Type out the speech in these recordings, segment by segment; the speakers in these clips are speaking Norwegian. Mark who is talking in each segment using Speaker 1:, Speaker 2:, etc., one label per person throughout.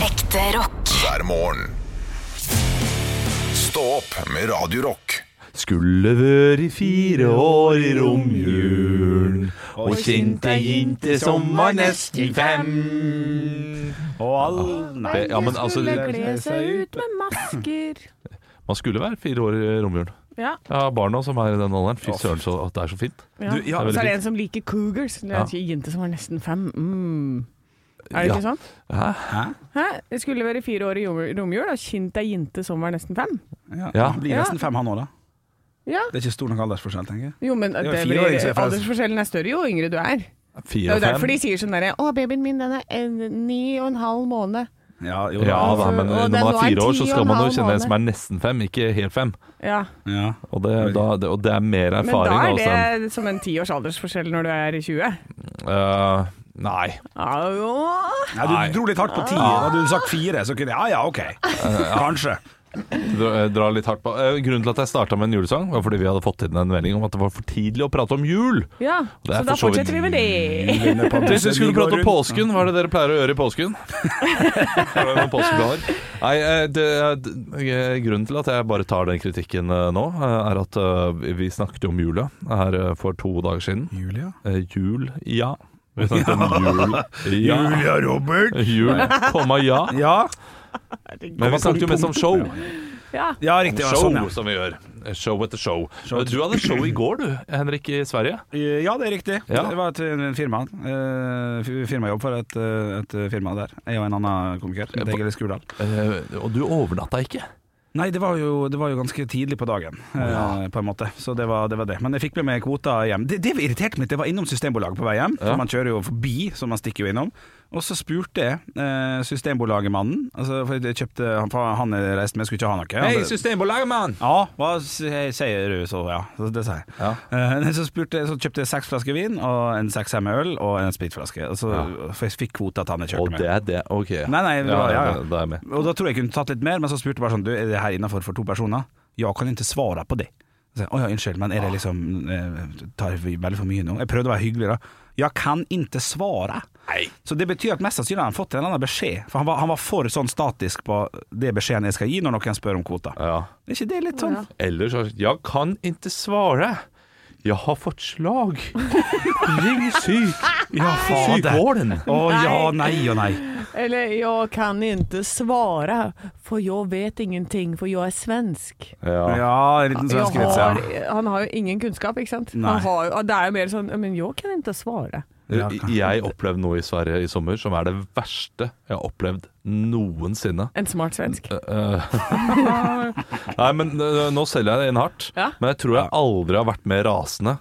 Speaker 1: Ekte rock.
Speaker 2: hver morgen. Stå opp med Radio Rock.
Speaker 3: Skulle vært fire år i romjulen og kjent ei jente som var nesten fem.
Speaker 4: Og all Nei,
Speaker 3: Det- ja, men altså-
Speaker 5: skulle kle seg ut med masker.
Speaker 3: Man skulle være fire år i romjulen.
Speaker 5: Ja.
Speaker 3: Jeg har barna som er i den alderen. Fy søren, så at det er så fint.
Speaker 5: ja.
Speaker 4: Du, ja,
Speaker 5: så er
Speaker 3: veldig
Speaker 5: det en som liker cougars. Det
Speaker 3: Ja.
Speaker 5: er en sånn jente som var nesten fem. Mm. Er det
Speaker 3: Ja.
Speaker 5: ikke sånn?
Speaker 3: Hæ?
Speaker 5: Hæ? Jeg skulle være fire år i jom- romjul og kjent ei jente som var nesten fem.
Speaker 4: ja.
Speaker 3: Ja.
Speaker 4: Han blir
Speaker 5: Ja.
Speaker 4: nesten fem, han òg, da.
Speaker 5: Ja.
Speaker 4: Det er ikke stor nok aldersforskjell, tenker jeg.
Speaker 5: Jo, men
Speaker 4: er
Speaker 5: det
Speaker 4: jo fire år,
Speaker 5: blir,
Speaker 4: ikke sant?
Speaker 5: aldersforskjellen er større jo yngre du er. Det
Speaker 3: Fire
Speaker 5: er jo
Speaker 3: og
Speaker 5: derfor
Speaker 3: fem?
Speaker 5: de sier sånn derre Å, babyen min, den er en, ni og en halv måned.
Speaker 4: Ja, jo,
Speaker 3: Ja da, men
Speaker 5: altså. Og
Speaker 3: når
Speaker 5: den
Speaker 3: man er
Speaker 5: var
Speaker 3: fire år,
Speaker 5: ti
Speaker 3: så
Speaker 5: og
Speaker 3: skal
Speaker 5: en
Speaker 3: man jo
Speaker 5: halv
Speaker 3: kjenne en
Speaker 5: måned.
Speaker 3: som er nesten fem, ikke helt fem.
Speaker 5: Ja.
Speaker 4: ja.
Speaker 3: Og det, da, det, og det er mer
Speaker 5: Men da
Speaker 3: erfaring.
Speaker 5: er
Speaker 3: også enn- altså.
Speaker 5: det som en tiårs aldersforskjell når du er i 20.
Speaker 3: Øh, nei.
Speaker 5: Au.
Speaker 4: Nei, du
Speaker 3: Nei.
Speaker 4: dro litt hardt på ti. Hadde du sagt fire, så kunne jeg Ja ja, OK. Kanskje.
Speaker 3: Dra, dra litt hardt på. Eh, Grunnen til at jeg starta med en julesang, var fordi vi hadde fått inn en melding om at det var for tidlig å prate om jul.
Speaker 5: Ja,
Speaker 3: Det er for
Speaker 5: så da
Speaker 3: så vidt
Speaker 5: fortsetter vi med det.
Speaker 3: Hvis vi skulle prate om
Speaker 4: rundt.
Speaker 3: påsken, hva er det dere pleier å gjøre i påsken? Har dere noen påskeplaner? Nei, eh, det, er- det- grunnen til at jeg bare tar den kritikken eh, nå, eh, er at eh, vi snakket jo om jula her eh, for to dager siden.
Speaker 4: Julia?
Speaker 3: Eh, Jul, ja. Vi snakket om jul, ja.
Speaker 4: Julia Robert?
Speaker 3: Jul, komma ja.
Speaker 4: Ja.
Speaker 3: Men vi snakket jo mest om show.
Speaker 5: Ja.
Speaker 4: Ja, riktig. Ja, sånn,
Speaker 3: Show,
Speaker 4: ja.
Speaker 3: som vi gjør. Eh, Show etter show.
Speaker 4: Show etter-
Speaker 3: Du hadde show i går, du, Henrik, i Sverige.
Speaker 4: ja, det er riktig.
Speaker 3: Ja.
Speaker 4: Det var et eh, firma. eh, f- firmajobb for et, eh, et firma der. Jeg og en annen komiker. Egil Skurdal.
Speaker 3: Eh, Og du overnatta ikke.
Speaker 4: Nei, det var, jo, det var jo ganske tidlig på dagen, eh, på en måte. Så det var, det var det. Men jeg fikk med meg kvota hjem. Det, det irriterte meg litt. Jeg var innom Systembolaget på vei hjem.
Speaker 3: Ja.
Speaker 4: For man kjører jo forbi, så man stikker jo innom. Og så spurte jeg eh, Systembolaget-mannen altså, For jeg kjøpte han, for han jeg reiste med, skulle ikke ha noe. Han-
Speaker 3: Systembolaget, mann!
Speaker 4: ja, hva s- sier du så? Ja, så det sa jeg.
Speaker 3: Ja.
Speaker 4: Eh, så, spurte, jeg- så kjøpte jeg seks flasker vin, og en seks med øl, og en spritflaske. Og så for jeg fikk kvota til han jeg
Speaker 3: Og
Speaker 4: kjørte med.
Speaker 3: det er det. Ok.
Speaker 4: Nei, nei, det
Speaker 3: ja,
Speaker 4: var- ja, ja.
Speaker 3: Det, det er jeg med.
Speaker 4: Og da tror jeg jeg kunne tatt litt mer, men så spurte jeg bare sånn Du, er det her innafor for to personer? Jeg kan ikke svare på det. Så, jeg, Å ja, unnskyld, men
Speaker 3: Ah.
Speaker 4: er det liksom eh, Tar vi veldig for mye nå? Jeg prøvde å være hyggelig, da. Jeg kan ikke svare. Så det betyr at mest sannsynlig har han fått en eller annen beskjed. For han var, han var for sånn statisk på det beskjeden jeg skal gi når noen spør om kvota.
Speaker 3: Ja.
Speaker 4: Er ikke det litt sånn?
Speaker 3: Ellers har Jeg kan ikke svare. Jeg har fått slag. Ring syk. Ja, sykvården.
Speaker 4: Å ja, nei og nei.
Speaker 5: Eller 'jeg kan ikke svare, for jeg vet ingenting, for jeg er svensk'.
Speaker 3: Ja.
Speaker 4: Ja, en liten
Speaker 5: Jeg
Speaker 4: svensk vits, ja.
Speaker 5: har- Han har jo ingen kunnskap, ikke sant?
Speaker 4: Nei.
Speaker 5: Han har, jo- og det er jo mer sånn 'men jeg kan ikke svare'.
Speaker 3: Eh, Jeg opplevde noe i Sverige i sommer som er det verste jeg har opplevd noensinne.
Speaker 5: En smart svensk.
Speaker 3: Äh, Eh, Nei, men eh, nå selger jeg det inn hardt.
Speaker 5: Ja.
Speaker 3: Men jeg tror jeg aldri har vært mer rasende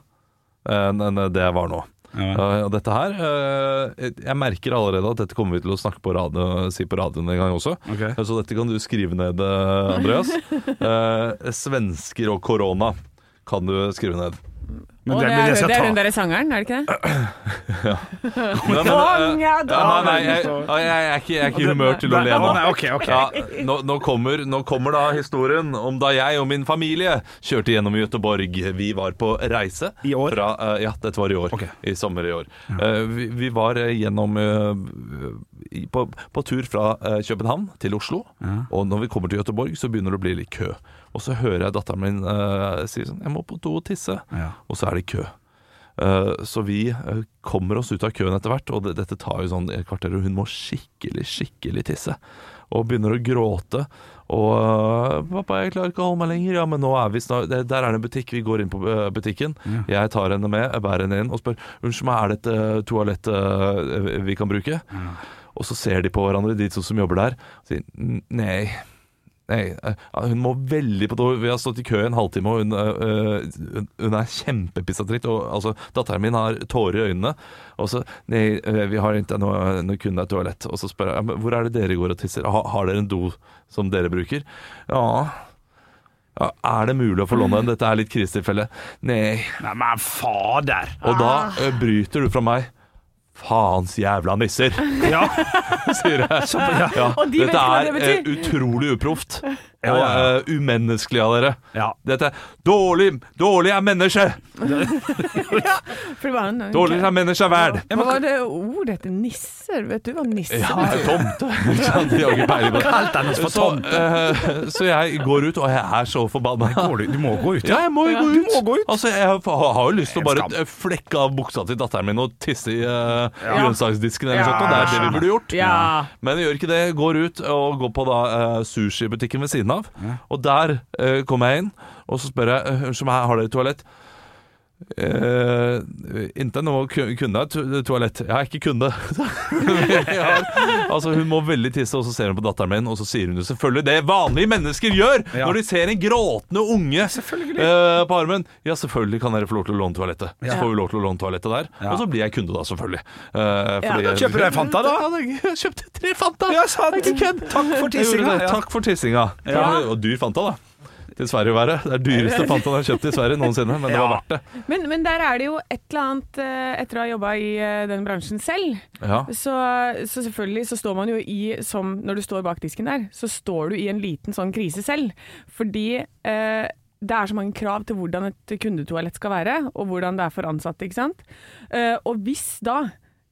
Speaker 3: enn enn det jeg var nå. Eh, og dette her eh, Jeg merker allerede at dette kommer vi til å snakke på radio, si på radioen en gang også. Eh,
Speaker 4: Ok.
Speaker 3: Så dette kan du skrive ned, eh, Andreas. Eh, svensker og korona kan du skrive ned.
Speaker 4: Men
Speaker 5: og det,
Speaker 4: det, men
Speaker 5: er,
Speaker 4: det skal
Speaker 5: det er hun
Speaker 4: jeg ta.
Speaker 5: derre sangeren, er det ikke det?
Speaker 3: Men, men, eh, ja, nei, nei, jeg, jeg, jeg, er ikke, jeg er ikke i humør til å le nå.
Speaker 4: Å, nei, ok, ok.
Speaker 3: Ja, nå, nå, kommer, nå kommer da historien om da jeg og min familie kjørte gjennom Göteborg. Vi var på reise.
Speaker 4: I år?
Speaker 3: Fra, eh, ja, dette var i år.
Speaker 4: Ok.
Speaker 3: I sommer i år. Eh, vi, vi var eh, gjennom eh, i- på, på tur fra eh, København til Oslo. Og når vi kommer til Göteborg, så begynner det å bli litt kø. Og så hører jeg datteren min eh, si sånn 'Jeg må på do og tisse',
Speaker 4: Ja.
Speaker 3: og så er det kø. Eh, Så vi eh, kommer oss ut av køen etter hvert, og det- dette tar jo sånn et kvarter, og hun må skikkelig, skikkelig tisse. Og begynner å gråte. Og eh, 'Pappa, jeg klarer ikke å holde meg lenger.' Ja, men nå er vi snart det- Der er det en butikk. Vi går inn på eh, butikken. Jeg tar henne med, jeg bærer henne inn og spør 'Unnskyld meg, er det et eh, toalett eh, vi kan bruke?' Og så ser de på hverandre, de to som jobber der, og sier «N- 'Nei'. Nei, eh, hun må veldig på do. Vi har stått i kø i en halvtime, og hun, eh, hun, hun er kjempepissa dritt. Og, altså, datteren min har tårer i øynene. Og så Nei, eh, vi har ikke noe, noe kun et toalett. Og så spør jeg ja, men hvor er det dere går og tisser. Ha, har dere en do som dere bruker? Ja. ja. Er det mulig å få låne en? Dette er litt krisetilfelle. Nei.
Speaker 4: Nei, men fader!
Speaker 3: Og da eh, bryter du fra meg. Faens jævla nisser,
Speaker 4: Ja.
Speaker 3: sier jeg.
Speaker 4: ja.
Speaker 3: Ja,
Speaker 5: Og de
Speaker 3: dette
Speaker 5: vet ikke hva
Speaker 3: er
Speaker 5: det betyr.
Speaker 3: eh, utrolig uproft.
Speaker 4: Ja,
Speaker 3: og
Speaker 4: ja,
Speaker 3: eh, umenneskelig av dere.
Speaker 4: Ja.
Speaker 3: Dette er dårlig, dårlig er menneske!
Speaker 5: For det var en,
Speaker 3: Dårlig er menneske verd!
Speaker 5: Hva var det ordet heter? Nisser? Vet du hva nisser
Speaker 3: Ja,
Speaker 5: er?
Speaker 3: tomte. Ikke sant? De har ikke peiling på det.
Speaker 4: Alt annet for
Speaker 3: Så,
Speaker 4: tomte.
Speaker 3: eh, så jeg går ut, og jeg er så forbanna.
Speaker 4: Går du, du må gå ut.
Speaker 3: Ja, jeg må jo gå
Speaker 4: Du
Speaker 3: ut.
Speaker 4: må gå ut.
Speaker 3: Altså, jeg har- har jo lyst til å
Speaker 4: En
Speaker 3: bare
Speaker 4: skam.
Speaker 3: flekke av buksa til datteren min og tisse i eh, grønnsaksdisken eller noe sånt, og det er det vi burde gjort.
Speaker 5: Ja.
Speaker 3: Men jeg gjør ikke det. Går ut og går på da eh, sushibutikken ved siden av. Og der eh, kommer jeg inn, og så spør jeg eh, Unnskyld meg, har dere toalett? Uh, inte noe ku- kunde to toalett. Jeg er ikke kunde. Jeg har- altså Hun må veldig tisse, og så ser hun på datteren min, og så sier hun jo selvfølgelig det vanlige mennesker gjør
Speaker 4: Ja.
Speaker 3: når de ser en gråtende unge eh, på armen. Ja, selvfølgelig kan dere få lov til å låne toalettet. Så får vi lov til å låne toalettet der,
Speaker 4: Ja.
Speaker 3: og så blir jeg kunde da, selvfølgelig. Eh, fordi-
Speaker 4: da kjøper du en Fanta, da.
Speaker 3: Ja, jeg kjøpte tre Fanta!
Speaker 4: Ja, sant.
Speaker 3: Det er ikke kødd.
Speaker 4: Takk for
Speaker 3: Jeg gjorde
Speaker 4: tissinga.
Speaker 3: det.
Speaker 4: Ja.
Speaker 3: Takk for tissinga.
Speaker 4: Ja.
Speaker 3: Og dyr Fanta, da. Til Sverige å være. Det er dyreste Fantaen jeg har kjøpt i Sverige noensinne, men det var verdt det.
Speaker 5: Men, men der er det jo et eller annet eh, Etter å ha jobba i eh, den bransjen selv,
Speaker 3: Ja.
Speaker 5: så, så selvfølgelig så står man jo i som Når du står bak disken der, så står du i en liten sånn krise selv. Fordi eh, det er så mange krav til hvordan et kundetoalett skal være, og hvordan det er for ansatte, ikke sant. Eh, og hvis da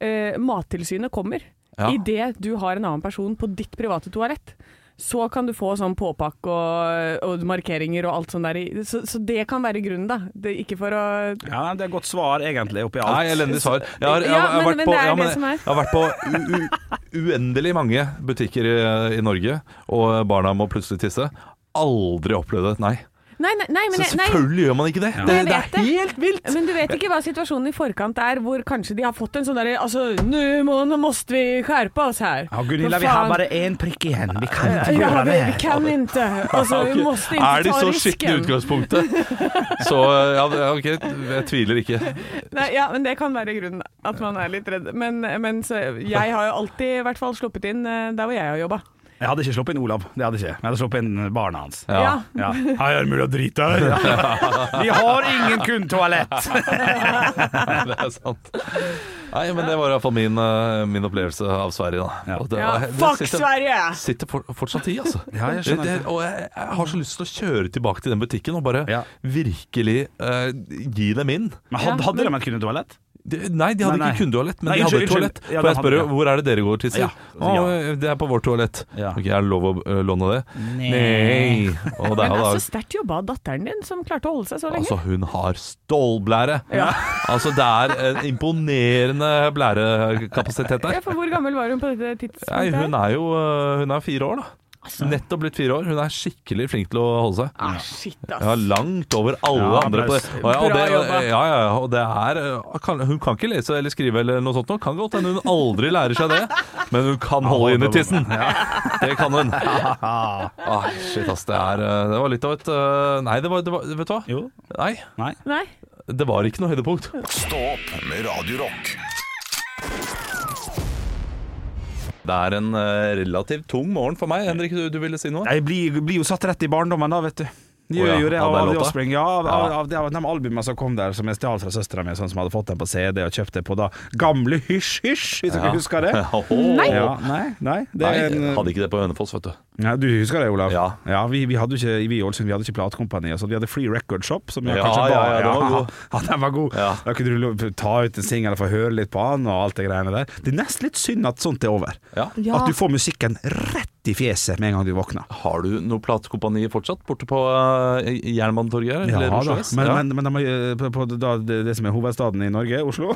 Speaker 5: eh, Mattilsynet kommer
Speaker 3: Ja.
Speaker 5: idet du har en annen person på ditt private toalett, så kan du få sånn påpakk og, og markeringer og alt sånt der. i- Så, så det kan være grunnen, da. Det, ikke for å
Speaker 4: Ja, det er godt svar egentlig oppi alt.
Speaker 3: Nei, elendig svar. Jeg har, jeg,
Speaker 5: Ja,
Speaker 3: har- jeg har
Speaker 5: men-
Speaker 3: vært
Speaker 5: men
Speaker 3: på,
Speaker 5: det er
Speaker 3: ja,
Speaker 5: det som er.
Speaker 3: jeg har vært på u, u, uendelig mange butikker i, i Norge, og barna må plutselig tisse. Aldri opplevd et nei.
Speaker 5: Nei, nei, nei men
Speaker 3: Så
Speaker 5: jeg- nei,
Speaker 3: selvfølgelig gjør man ikke det. Det,
Speaker 5: Jeg
Speaker 3: Eh, det
Speaker 5: vet
Speaker 3: er
Speaker 5: det.
Speaker 3: helt vilt.
Speaker 5: Men du vet ikke hva situasjonen i forkant er, hvor kanskje de har fått en sånn derre Altså, nå må, nå måste vi skjerpe oss her.
Speaker 4: Ja, Gunilla,
Speaker 5: Hva
Speaker 4: vi har
Speaker 5: faen?
Speaker 4: bare én prikk igjen. Vi kan ikke
Speaker 5: ja,
Speaker 4: gjøre
Speaker 5: vi,
Speaker 4: det.
Speaker 5: vi kan ikke. Altså,
Speaker 3: Ok.
Speaker 5: vi måste ikke
Speaker 3: Er de
Speaker 5: ta
Speaker 3: så skitne i
Speaker 5: risken.
Speaker 3: utgangspunktet? Så ja, ok, jeg tviler ikke.
Speaker 5: Nei, ja, men det kan være grunnen, at man er litt redd. Men, men så, jeg har jo alltid i hvert fall sluppet inn eh, der hvor jeg har jobba.
Speaker 4: Jeg hadde ikke sluppet inn Olav. Det hadde jeg ikke. Men jeg hadde sluppet inn barna hans.
Speaker 3: Ja.
Speaker 5: Ja.
Speaker 4: Ja. Her er det mulig å drite her. Vi har ingen kundetoalett.
Speaker 3: Nei, det er sant. Nei, men det var iallfall min, eh, min opplevelse av Sverige, da.
Speaker 4: Ja.
Speaker 3: Og det,
Speaker 5: Ja,
Speaker 3: og jeg- det
Speaker 5: fuck
Speaker 3: sitter,
Speaker 5: Sverige!
Speaker 3: Sitter for, fortsatt i, altså.
Speaker 4: Ja, jeg skjønner
Speaker 3: det, det, og jeg, jeg har så lyst til å kjøre tilbake til den butikken og bare
Speaker 4: Ja.
Speaker 3: virkelig eh, gi dem inn.
Speaker 4: Men
Speaker 5: Ja,
Speaker 4: hadde, hadde
Speaker 5: men-
Speaker 4: de et kundetoalett?
Speaker 3: De, nei, de hadde
Speaker 4: Nei,
Speaker 3: ikke kundetoalett, men
Speaker 4: Nei,
Speaker 3: de hadde
Speaker 4: unnskyld,
Speaker 3: et
Speaker 4: unnskyld.
Speaker 3: toalett.
Speaker 4: Ja,
Speaker 3: For
Speaker 4: de
Speaker 3: jeg spør jo
Speaker 4: hadde det.
Speaker 3: hvor er det dere går og tisser?
Speaker 4: Ja.
Speaker 3: Å, det er på vårt toalett.
Speaker 4: Ja.
Speaker 3: Ok, er det lov å eh, låne det?
Speaker 4: Nei.
Speaker 3: Og det er
Speaker 5: Men
Speaker 3: jo da
Speaker 5: altså, sterkt jobba av datteren din, som klarte å holde seg så lenge.
Speaker 3: Altså, hun har stålblære!
Speaker 5: Ja.
Speaker 3: Altså, det er en imponerende blærekapasitet der.
Speaker 5: ja, for hvor gammel var hun på dette
Speaker 3: Nei,
Speaker 5: tidspunktet?
Speaker 3: hun er jo øh, hun er fire år, da. Nettopp blitt fire år. Hun er skikkelig flink til å holde seg.
Speaker 5: Ah, shit, ass.
Speaker 3: Ja, langt over alle
Speaker 4: Ja,
Speaker 3: andre på det.
Speaker 4: applaus.
Speaker 3: Og ja, og
Speaker 5: Bra
Speaker 3: det,
Speaker 5: jobba.
Speaker 3: ja, ja, ja, og det er øh, kan, Hun kan ikke lese eller skrive eller noe sånt. Nå. Kan godt hende hun aldri lærer seg det, men hun kan holde inn i tissen. Det kan hun. Ah, shit, ass. Det, er, øh, det var litt av et øh, Nei, det var, det var Vet du hva?
Speaker 4: Jo.
Speaker 3: Nei,
Speaker 4: Nei.
Speaker 5: Nei?
Speaker 3: det var ikke noe høydepunkt.
Speaker 2: Stå opp med Radio Rock.
Speaker 3: Det er en øh, relativt tung morgen for meg. Henrik, du, du ville si noe?
Speaker 4: Jeg blir, blir jo satt rett i barndommen da, vet du. De
Speaker 3: Å
Speaker 4: gjør
Speaker 3: ja,
Speaker 4: jo det
Speaker 3: av
Speaker 4: av,
Speaker 3: den
Speaker 4: av The
Speaker 3: låta?
Speaker 4: Offspring. Ja, av,
Speaker 3: Ja.
Speaker 4: av, av, de- av de albumene som kom der, som jeg stjal fra søstera mi, sånn som hadde fått den på CD og kjøpt det på da gamle Hysj Hysj, hvis dere husker det.
Speaker 3: Nei.
Speaker 4: Ja, nei, nei, det
Speaker 3: Nei,
Speaker 4: er
Speaker 3: jeg
Speaker 4: en,
Speaker 3: hadde ikke det på Hønefoss, vet du.
Speaker 4: nei, du husker det, Olav?
Speaker 3: Ja.
Speaker 4: vi, vi hadde jo ikke vi i Ålesund, vi hadde ikke platekompani. og sånn. Vi hadde Free Record Shop. Som jeg
Speaker 3: Ja,
Speaker 4: kanskje
Speaker 3: ja,
Speaker 4: ba-
Speaker 3: ja, den var god.
Speaker 4: Ja, den var god.
Speaker 3: Ja.
Speaker 4: Da kunne du lo- ta ut en singel og få høre litt på han, og alt det greiene der. Det er nesten litt synd at sånt er over.
Speaker 3: Ja.
Speaker 5: Ja.
Speaker 4: At du får musikken rett i fjeset med en gang du våkner.
Speaker 3: Har du noe platekompani fortsatt borte på uh, Jernbanetorget her? eller Oslo S?
Speaker 4: Men,
Speaker 3: ja.
Speaker 4: men, men de, har, eh, på, på da, det, det som er hovedstaden i Norge, Oslo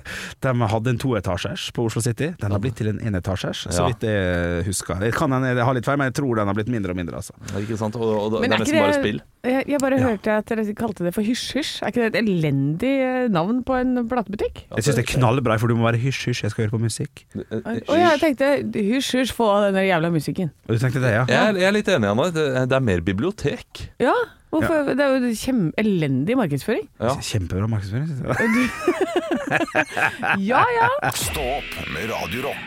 Speaker 4: De hadde en toetasjers på Oslo City. Den har blitt til en enetasjers, så
Speaker 3: Ja.
Speaker 4: vidt jeg husker. Jeg kan den- jeg har litt feil, men jeg tror den har blitt mindre og mindre. Altså.
Speaker 3: Det er ikke sant? Og, og det
Speaker 5: Men
Speaker 3: er nesten bare spill.
Speaker 5: Jeg, jeg bare hørte at dere kalte det for hysj-hysj. Er ikke det et elendig eh, navn på en platebutikk?
Speaker 4: Jeg syns det er knallbra, for du må være hysj-hysj, jeg skal høre på musikk.
Speaker 5: Å ja,
Speaker 3: Eh,
Speaker 5: jeg tenkte hysj-hysj, få av den der jævla musikken.
Speaker 4: Og du tenkte det, ja?
Speaker 3: Jeg er, jeg er litt enig, Anne. Det, det er mer bibliotek.
Speaker 5: Ja, hvorfor? Det er jo kjempeelendig markedsføring.
Speaker 3: Ja.
Speaker 4: Kjempebra markedsføring. synes jeg.
Speaker 5: Ja ja.
Speaker 2: Stå opp med Radio Rock.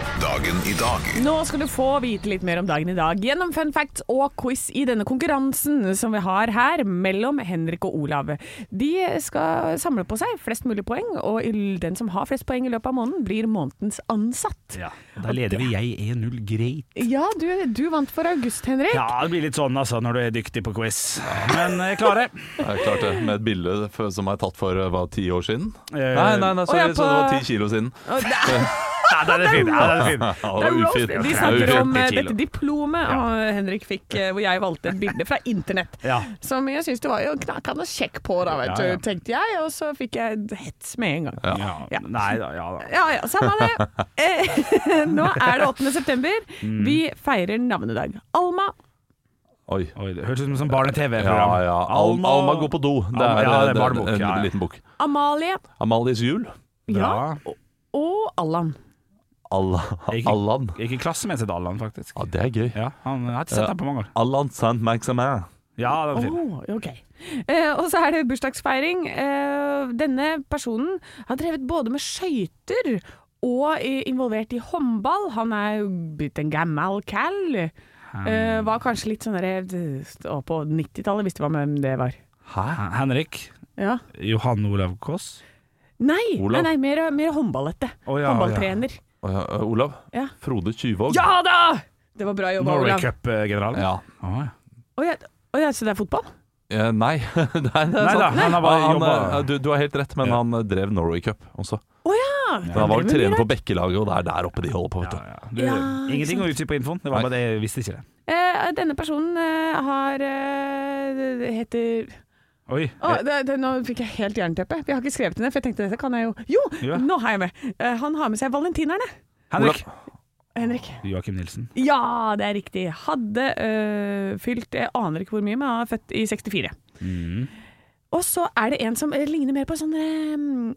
Speaker 2: Dagen i dag.
Speaker 5: Nå skal du få vite litt mer om dagen i dag gjennom fun facts og quiz i denne konkurransen som vi har her mellom Henrik og Olav. De skal samle på seg flest mulig poeng, og i- den som har flest poeng i løpet av måneden, blir månedens ansatt.
Speaker 4: Ja, og Der leder vi jeg 1-0, greit.
Speaker 5: Ja, du, du vant for august, Henrik.
Speaker 4: Ja, det blir litt sånn altså når du er dyktig på quiz. Men eh, jeg klarer.
Speaker 3: Det er klart det, Med et bilde f- som er tatt for eh, hva, ti år siden?
Speaker 4: Eh,
Speaker 3: Nei, nei, nei, sorry,
Speaker 5: Å, ja, på-
Speaker 3: så det var ti kilo siden.
Speaker 5: Og det-
Speaker 4: Nei, den er fin. Ja, den er fin.
Speaker 3: Ja,
Speaker 5: Det er roast.
Speaker 3: ufint.
Speaker 5: Vi
Speaker 3: Det er
Speaker 5: snakker
Speaker 3: ufint.
Speaker 5: om eh,
Speaker 4: 50 kilo.
Speaker 5: dette diplomet og Henrik fikk, eh, hvor jeg valgte et bilde fra internett.
Speaker 4: Ja.
Speaker 5: Som jeg syntes det var jo knakende kjekk på, da, vet
Speaker 4: Ja, ja.
Speaker 5: du, tenkte jeg. Og så fikk jeg et hets med en gang. Ja.
Speaker 4: Ja, nei da, ja da.
Speaker 5: Ja ja, samme det. Eh, Nå er det 8. september. Vi feirer navnedag. Alma.
Speaker 3: Oi.
Speaker 4: Oi, det høres ut som et sånt barne-TV-program.
Speaker 3: Ja, ja. Alma, Alma går på do. Det
Speaker 4: Alma-
Speaker 3: er,
Speaker 4: ja, det er
Speaker 3: det er
Speaker 4: barnebok,
Speaker 3: en,
Speaker 4: ja, ja.
Speaker 3: liten bok.
Speaker 5: Amalie.
Speaker 3: Amalies jul.
Speaker 5: Ja.
Speaker 4: Bra.
Speaker 5: Og Allan.
Speaker 3: Alla,
Speaker 4: Ikke-
Speaker 3: Allan.
Speaker 4: Gikk i klasse med til Dalland, faktisk.
Speaker 3: Ja, det er gøy.
Speaker 4: Ja, han jeg har ikke sett ham på mange år.
Speaker 3: Allan Saint Maximin.
Speaker 4: Ja, den er fin.
Speaker 5: Oh, ok. Eh, og så er det bursdagsfeiring. Eh, denne personen har drevet både med skøyter og i- involvert i håndball. Han er jo blitt en gammel cal. Eh, var kanskje litt sånn der, eh, stå på 90-tallet, visste man hvem det var.
Speaker 4: Hæ? Henrik.
Speaker 5: Ja.
Speaker 4: Johan Olav Kåss.
Speaker 5: Nei, nei,
Speaker 3: Olav?
Speaker 5: nei mer, mer håndballete.
Speaker 4: Å, ja,
Speaker 5: Håndballtrener.
Speaker 3: Å ja, eh, Olav?
Speaker 5: Ja.
Speaker 3: Frode Tyvåg?
Speaker 5: Ja da! Det var bra jobba,
Speaker 4: Norway
Speaker 5: Olav.
Speaker 4: Cup-general.
Speaker 3: Ja.
Speaker 4: Å, ja.
Speaker 5: Å ja, å ja, så det er fotball?
Speaker 3: Eh, nei. nei, det er
Speaker 4: Nei da,
Speaker 3: sant.
Speaker 4: han har bare
Speaker 3: Han,
Speaker 4: jobba-
Speaker 3: eh, du, du har helt rett, men
Speaker 4: Ja.
Speaker 3: han eh, drev Norway Cup også.
Speaker 5: Å ja!
Speaker 3: Så han var vel
Speaker 5: det er mye
Speaker 3: trener for Bekkelaget, og det er der oppe de holder på, vet du.
Speaker 4: Ja, ja. Du,
Speaker 5: Ja, ikke
Speaker 4: ingenting
Speaker 5: sant.
Speaker 4: å utsi på infoen. Det var
Speaker 3: Nei.
Speaker 4: bare det, jeg visste ikke det.
Speaker 5: Eh, denne personen eh, har eh, det heter
Speaker 4: Oi. eh,
Speaker 5: Å, det, det, Nå fikk jeg helt jernteppe. Vi har ikke skrevet den ned, for jeg tenkte dette kan jeg jo Jo,
Speaker 4: Ja.
Speaker 5: nå har jeg med! Eh, han har med seg valentinerne.
Speaker 4: Henrik.
Speaker 5: Henrik.
Speaker 4: Joakim Nilsen.
Speaker 5: Ja, det er riktig. Hadde eh, fylt Jeg aner ikke hvor mye, men han er født i 64.
Speaker 4: Mhm.
Speaker 5: Og så er det en som eh, ligner mer på sånn eh,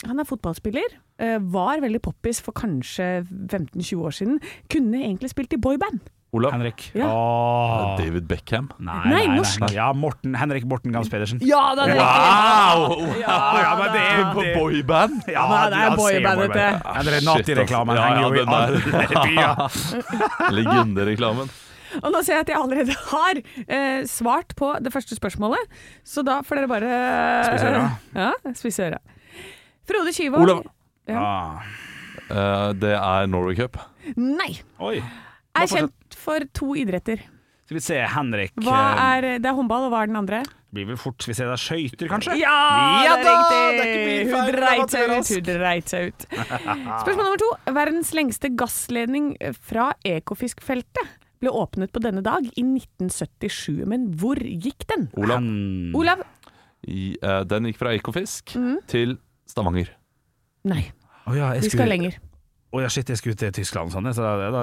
Speaker 5: Han er fotballspiller. eh, var veldig poppis for kanskje 15-20 år siden. Kunne egentlig spilt i boyband.
Speaker 3: Olav?
Speaker 4: Henrik.
Speaker 5: Ja.
Speaker 4: Åh.
Speaker 3: David Beckham?
Speaker 4: Nei,
Speaker 5: Nei,
Speaker 4: nei, nei,
Speaker 5: norsk.
Speaker 4: Ja, Morten, Henrik Morten Gams Pedersen.
Speaker 5: Ja da! Det
Speaker 4: Wow!
Speaker 5: Ja,
Speaker 4: Ja, men det er
Speaker 5: da.
Speaker 3: På boyband?
Speaker 4: Ja,
Speaker 5: men det er
Speaker 4: ja, se
Speaker 5: boyband,
Speaker 4: boyband.
Speaker 5: dette.
Speaker 4: Ja, det er Nati-reklamen
Speaker 3: Ah, Shit, ass.
Speaker 4: henger jo
Speaker 3: Ja,
Speaker 4: i
Speaker 3: ja, den
Speaker 4: alle byer.
Speaker 3: Legendereklamen.
Speaker 5: Og nå ser jeg at jeg allerede har eh, svart på det første spørsmålet, så da får dere bare
Speaker 4: Spisse øra.
Speaker 5: Ja, spisse øra. Frode Kyvåg
Speaker 3: Olav.
Speaker 4: Ah.
Speaker 3: Eh, det er Norway Cup.
Speaker 5: Nei.
Speaker 4: Oi.
Speaker 5: Er kjent for to idretter.
Speaker 4: Skal vi se, Henrik
Speaker 5: Hva
Speaker 4: eh,
Speaker 5: er, det er håndball, og hva er den andre?
Speaker 4: Blir vel fort Skal vi se, det er skøyter, kanskje?
Speaker 5: Ja, det
Speaker 4: da,
Speaker 5: er
Speaker 4: det er ikke
Speaker 5: riktig!
Speaker 4: min feil,
Speaker 5: Hun
Speaker 4: det var
Speaker 5: dreit seg ut.
Speaker 4: rask.
Speaker 5: Hun dreit seg ut. Spørsmål nummer to. Verdens lengste gassledning fra Ekofiskfeltet ble åpnet på denne dag i 1977, men hvor gikk den?
Speaker 3: Olav.
Speaker 4: Hmm.
Speaker 5: Olav?
Speaker 3: I, eh, den gikk fra Ekofisk
Speaker 5: Mhm.
Speaker 3: til Stavanger.
Speaker 5: Nei,
Speaker 4: Å ja, jeg
Speaker 5: vi
Speaker 4: skulle-
Speaker 5: skal lenger.
Speaker 4: Å ja, shit, jeg skulle til Tyskland og sånn. jeg, Så da, da, da,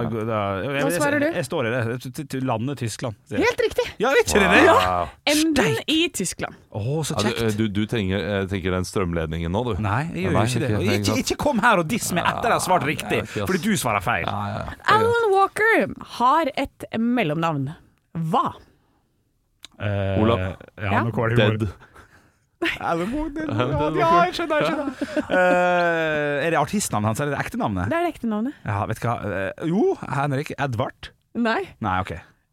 Speaker 4: jeg, jeg,
Speaker 5: svarer du?
Speaker 4: Jeg, jeg står i det. Til- til- til Landet Tyskland. sier jeg.
Speaker 5: Helt riktig!
Speaker 4: Ja, ikke det det? Å,
Speaker 5: Emden i Tyskland.
Speaker 4: så
Speaker 3: Ja,
Speaker 4: kjekt.
Speaker 3: du, du trenger, eh, tenker den strømledningen nå, du?
Speaker 4: Nei, jeg gjør
Speaker 3: Nei,
Speaker 4: jo ikke det.
Speaker 3: ikke- Ah,
Speaker 4: Og Ikke, ikke kom her og diss meg etter at jeg har svart riktig,
Speaker 3: ja, Ah. ja.
Speaker 4: fordi du svarer feil.
Speaker 3: Ja, ja, ja.
Speaker 5: Alan Walker har et mellomnavn. Hva?
Speaker 4: Eh,
Speaker 3: Olav.
Speaker 5: Ja.
Speaker 4: Ja, nå kommer det humor.
Speaker 3: Dead.
Speaker 4: Alan Walker, dead. Ja, jeg skjønner, jeg skjønner. Eh, er det artistnavnet hans, eller er det ekte navnet?
Speaker 5: Det er det ekte navnet.
Speaker 4: Ja, vet du hva. Eh, jo, Henrik Edvard.
Speaker 5: Nei.
Speaker 4: Nei, OK.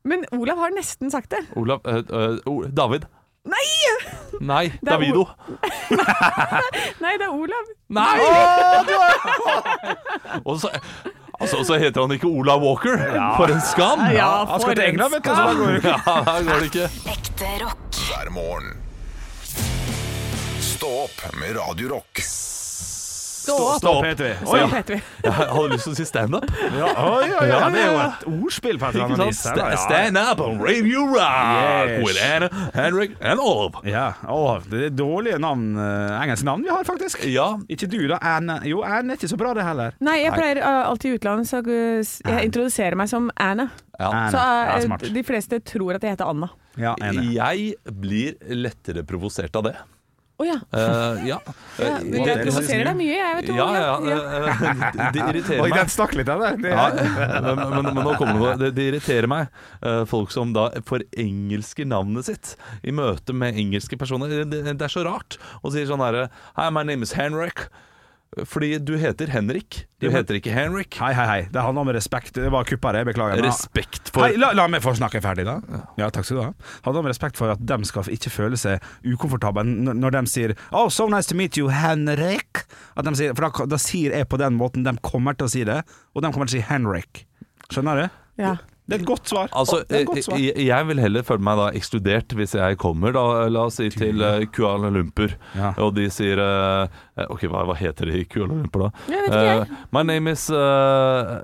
Speaker 5: Men Olav har nesten sagt det.
Speaker 3: Olav eh, eh, O- David.
Speaker 5: Nei!
Speaker 3: Nei,
Speaker 5: er O-
Speaker 3: Davido.
Speaker 5: Nei, det er Olav.
Speaker 3: Nei! og så, altså, så heter han ikke Olav Walker. For en skam!
Speaker 5: Ja,
Speaker 4: Han
Speaker 5: for
Speaker 4: skal til
Speaker 5: en
Speaker 4: England, vet du, så da går det ikke.
Speaker 3: Ja, der går det ikke.
Speaker 6: Ekte rock.
Speaker 2: Hver morgen. Stå opp med Radio Rock.
Speaker 5: Stå opp.
Speaker 3: Stå
Speaker 4: Opp
Speaker 3: opp.
Speaker 4: heter vi.
Speaker 5: Så
Speaker 4: Oi,
Speaker 5: Sånn heter vi.
Speaker 3: Jeg hadde lyst til å si standup.
Speaker 4: ja, oi, oi,
Speaker 3: Ja,
Speaker 4: ja, det er jo
Speaker 3: ja,
Speaker 4: et ordspill på et eller
Speaker 3: Ikke
Speaker 4: annet
Speaker 3: sant?
Speaker 4: vis. her, da.
Speaker 3: Sta-
Speaker 4: Ja.
Speaker 3: Stand up and radio rock
Speaker 4: Yes.
Speaker 3: with Anna, Henrik and Olav.
Speaker 4: Ja, å, det er dårlige navn, eh, engelske navn vi har, faktisk.
Speaker 3: Ja,
Speaker 4: Ikke du, da. Anne. Jo, Anne er ikke så bra, det heller.
Speaker 5: Nei, jeg pleier uh, alltid i utlandet, så uh, s- jeg introduserer meg som Anna.
Speaker 3: ja.
Speaker 4: Anne.
Speaker 5: Så uh,
Speaker 4: ja, smart.
Speaker 5: de fleste tror at jeg heter Anna.
Speaker 4: Ja, Anne.
Speaker 3: Jeg blir lettere provosert av det.
Speaker 5: Å ja.
Speaker 3: Eh, ja.
Speaker 5: ja.
Speaker 3: Eh,
Speaker 5: men Jeg
Speaker 4: det- liksom-
Speaker 5: provoserer deg mye, jeg, vet du.
Speaker 3: Ja, ja.
Speaker 5: Olav.
Speaker 3: eh, eh, Det irriterer
Speaker 4: Oi,
Speaker 3: meg.
Speaker 4: den stakk litt, den der. Det-
Speaker 3: Ja, men, men, men nå kommer det noe. Det, det irriterer meg. eh, folk som da forengelsker navnet sitt i møte med engelske personer. Det, det, det er så rart. Og sier sånn herre Hi, my name is Henrik. Fordi du heter Henrik. Du
Speaker 4: Ja, men-
Speaker 3: heter ikke Henrik.
Speaker 4: Hei, hei, hei. Det handler om respekt. Det var kuppere, jeg beklager. Men-
Speaker 3: Respekt for
Speaker 4: Hei, la, la meg få snakke ferdig, da. Ja, takk skal du ha. Hadde han respekt for at de skal ikke føle seg ukomfortable n- når de sier Oh, so nice to meet you, Henrik. At de sier, for da, da sier jeg på den måten de kommer til å si det, og de kommer til å si Henrik. Skjønner du?
Speaker 5: Ja.
Speaker 4: Det er et godt svar.
Speaker 3: Altså,
Speaker 4: det er et godt svar.
Speaker 3: jeg, jeg vil heller føle meg da ekskludert hvis jeg kommer, da, la oss si, til eh, Kuala Lumpur.
Speaker 4: Ja.
Speaker 3: Og de sier eh, Ok, hva, hva heter de i Kuala Lumpur, da?
Speaker 5: Jeg vet ikke, jeg.
Speaker 3: Eh, my name is uh,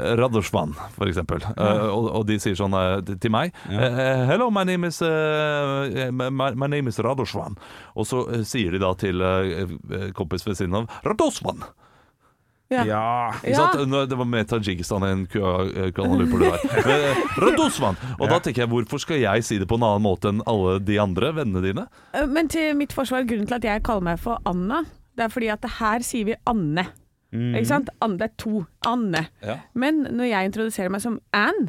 Speaker 3: Radoshvan, for eksempel. Eh, og, og de sier sånn eh, til- til meg eh, Hello, my name is eh, my, my name is Radoshvan. Og så eh, sier de da til eh, kompis ved siden av Radoshvan. eh,
Speaker 4: eh,
Speaker 5: Ja.
Speaker 4: Ja.
Speaker 3: Ikke
Speaker 5: Ja.
Speaker 3: sant? Nå- Det var mer Tadsjikistan enn Kua- Kuala Lumpur det der. Men, Radosvan! Og da tenker jeg, hvorfor skal jeg si det på en annen måte enn alle de andre vennene dine?
Speaker 5: Eh, Men til mitt forsvar, grunnen til at jeg kaller meg for Anna, det er fordi at det her sier vi Anne. Ikke sant? Anne, det er to. Anne.
Speaker 3: Mm. Ja.
Speaker 5: Men når jeg introduserer meg som Ann,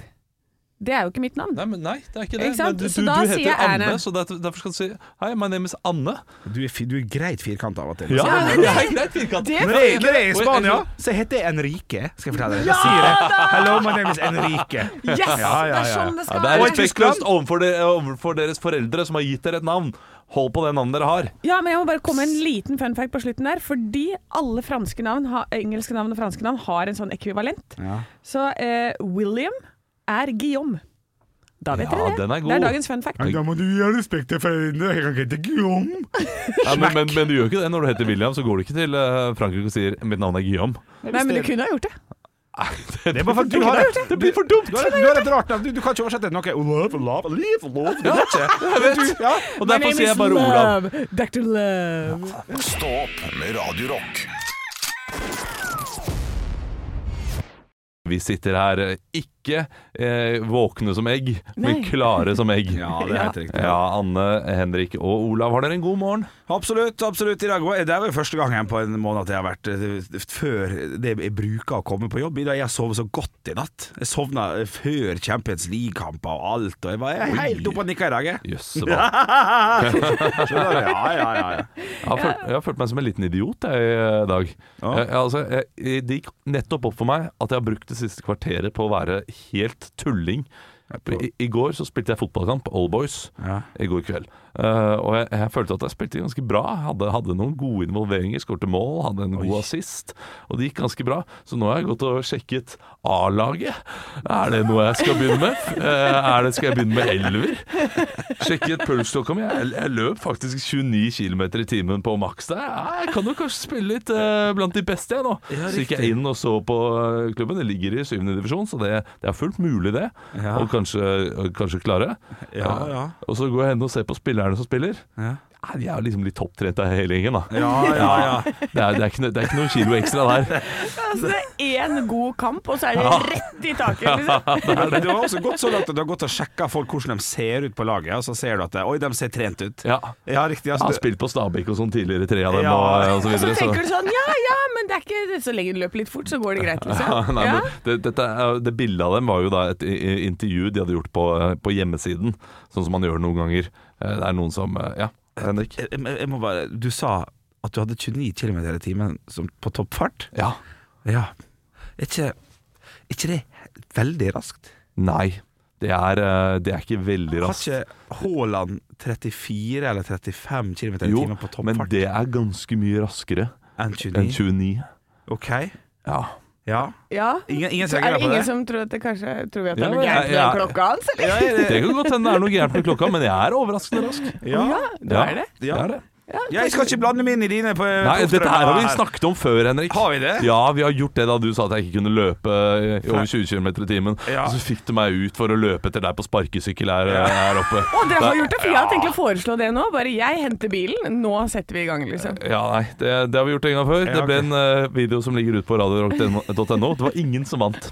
Speaker 5: det er jo ikke mitt navn.
Speaker 3: Nei, det er ikke
Speaker 5: det. Ikke sant?
Speaker 3: du,
Speaker 5: Men du- Så du- da du
Speaker 3: heter
Speaker 5: heter sier jeg Anne,
Speaker 3: Anne,
Speaker 5: Anne.
Speaker 3: så derfor skal du si Hei, my name is Anne.
Speaker 4: Du, er, fi- du er greit firkanta av og til.
Speaker 3: Ja,
Speaker 5: men
Speaker 3: det er greit firkant.
Speaker 5: Det-
Speaker 4: Når jeg, når jeg er i Spania, så heter jeg Enrique. Skal jeg fortelle deg? Ja, sier jeg, Hello, my name is Enrique.
Speaker 5: Yes! Det er sånn
Speaker 3: Ja,
Speaker 5: det skal
Speaker 3: det er
Speaker 4: Og
Speaker 5: være.
Speaker 4: i
Speaker 3: respektløst
Speaker 4: Tyskland?
Speaker 3: overfor, de, overfor deres foreldre som har gitt dere et navn. Hold på det navnet dere har.
Speaker 5: Ja, men jeg må bare komme med en liten fun fact på slutten der. Fordi alle franske navn, har- engelske navn og franske navn har en sånn ekvivalent.
Speaker 4: Ja.
Speaker 5: Så eh, William er Guillaume. Da vet
Speaker 3: Ja,
Speaker 5: dere det.
Speaker 3: den er god.
Speaker 5: Det er dagens fun fact.
Speaker 3: Men da
Speaker 4: må du gi respekt til foreldrene. Jeg kan ikke hete Guillaume.
Speaker 3: Ja, men, men, men du gjør ikke det. Når du heter William, så går du ikke til eh, Frankrike og sier 'mitt navn er Guillaume'.
Speaker 5: Nei, men du kunne ha gjort det.
Speaker 4: Det er bare for at du har et,
Speaker 3: Det blir for dumt!
Speaker 4: du har et, du har et rart navn. Du, du kan ikke oversette noe. Love, love, live, love. Det går ikke. Du, ja.
Speaker 3: Og derfor sier jeg bare Olav.
Speaker 5: Love. Dr. Love.
Speaker 2: Stå opp med Radio Rock.
Speaker 3: Vi sitter her eh, ikke eh, våkne som egg, men
Speaker 5: Nei.
Speaker 3: klare som egg.
Speaker 4: Ja, det er helt riktig.
Speaker 3: Ja, Anne, Henrik og Olav, har dere en god morgen?
Speaker 4: Absolutt. absolutt i dag også. Det er vel første gangen på en måned at jeg har vært eh, før det jeg bruker å komme på jobb. I dag Jeg sov så godt i natt. Jeg sovna eh, før Champions League-kamper og alt. Og jeg var jeg er helt oppe og nikka i dag, jeg.
Speaker 3: Jøsse hva.
Speaker 4: Skjønner du? Ja, ja, ja, ja.
Speaker 3: Jeg har, følt, jeg har følt meg som en liten idiot jeg, i eh, dag.
Speaker 4: Ja.
Speaker 3: Jeg, jeg- altså, jeg, jeg- det gikk nettopp opp for meg at jeg har brukt det siste kvarteret på å være helt tulling. I, I går så spilte jeg fotballkamp, All Boys,
Speaker 4: Ja.
Speaker 3: i går kveld. Eh, og jeg, jeg følte at jeg spilte ganske bra. Hadde, hadde noen gode involveringer, skårte mål, hadde en god assist. Og det gikk ganske bra. Så nå har jeg gått og sjekket A-laget. Er det noe jeg skal begynne med? Eh, er det, skal jeg begynne med elver? Sjekket pulsklokka mi. Jeg, jeg løp faktisk 29 km i timen på maks der. Ja, jeg kan jo kanskje spille litt eh, blant de beste, jeg nå. så gikk jeg inn og så på eh, klubben. Det ligger i syvende divisjon, så det, det er fullt mulig, det.
Speaker 4: Ja.
Speaker 3: Og kanskje, og kanskje klare.
Speaker 4: Ja, ja.
Speaker 3: Og så går jeg hen og ser på spillerne som spiller.
Speaker 4: Ja.
Speaker 3: Ja, de er jo liksom litt topptrent av hele gjengen, da.
Speaker 4: Ja, ja, ja.
Speaker 3: Det, er, det, er ikke, noe- det er ikke noen kilo ekstra der.
Speaker 5: Altså, det er én god kamp, og så er det rett i taket. Liksom.
Speaker 4: Men det var også godt så langt at du har gått og sjekka folk hvordan de ser ut på laget, og så ser du at det- Oi, de ser trent ut.
Speaker 3: Ja.
Speaker 4: Ja, riktig.
Speaker 3: Jeg
Speaker 4: Altså,
Speaker 3: har
Speaker 4: det-
Speaker 3: spilt på Stabæk og sånn tidligere, tre av dem
Speaker 4: Ja.
Speaker 3: og, og så
Speaker 5: Og så
Speaker 3: videre. så-
Speaker 5: tenker du sånn Ja ja, men det er ikke så lenge du løper litt fort, så går det greit,
Speaker 3: Ja,
Speaker 5: liksom.
Speaker 3: Nei,
Speaker 5: Ja.
Speaker 3: men det, dette, er- det bildet av dem var jo da et i- i- intervju de hadde gjort på, eh, på hjemmesiden, sånn som man gjør noen ganger. Eh, Det er noen som eh, Ja, Henrik?
Speaker 4: jeg, jeg jeg må bare Du sa at du hadde 29 km i timen som- på toppfart.
Speaker 3: Ja.
Speaker 4: Ja. Er ikke, er ikke det veldig raskt?
Speaker 3: Nei. Det er, eh, det er ikke veldig
Speaker 4: Har
Speaker 3: raskt.
Speaker 4: ikke Haaland 34 eller 35 km i
Speaker 3: Jo,
Speaker 4: timen på
Speaker 3: men
Speaker 4: toppfart
Speaker 3: det er ganske mye raskere
Speaker 4: enn
Speaker 3: enn
Speaker 4: 29?
Speaker 3: 29.
Speaker 4: Ok,
Speaker 3: Ja.
Speaker 4: ja.
Speaker 5: ja.
Speaker 4: Ingen, ingen
Speaker 5: Så
Speaker 4: trenger
Speaker 5: er det
Speaker 4: på
Speaker 5: ingen
Speaker 4: det?
Speaker 5: som tror at det kanskje tror vi at det
Speaker 3: Ja,
Speaker 5: er noe
Speaker 3: men jeg-
Speaker 5: gærent med
Speaker 3: jeg-
Speaker 5: klokka hans, eller?
Speaker 4: Ja, ja,
Speaker 3: Det kan godt hende det er noe gærent med klokka, men jeg er overraskende rask.
Speaker 5: Ja, det
Speaker 3: Ja.
Speaker 5: er det.
Speaker 3: Det er det.
Speaker 4: Jeg skal ikke blande meg inn i dine på
Speaker 3: Nei, dette her har vi snakket om før, Henrik.
Speaker 4: Har vi det?
Speaker 3: Ja, vi har gjort det da du sa at jeg ikke kunne løpe eh, i over 20 km i timen.
Speaker 4: Ja.
Speaker 3: Og så fikk du meg ut for å løpe etter deg på sparkesykkel her, eh, her oppe.
Speaker 5: Å, dere har
Speaker 3: Da-
Speaker 5: gjort det, for jeg hadde tenkt å foreslå det nå. Bare jeg henter bilen, nå setter vi i gang, liksom.
Speaker 3: Ja, nei, det, det har vi gjort en gang før. Det
Speaker 4: Ja,
Speaker 3: ble
Speaker 4: ok.
Speaker 3: en eh, video som ligger ute på radiorock.no. Det var ingen som vant.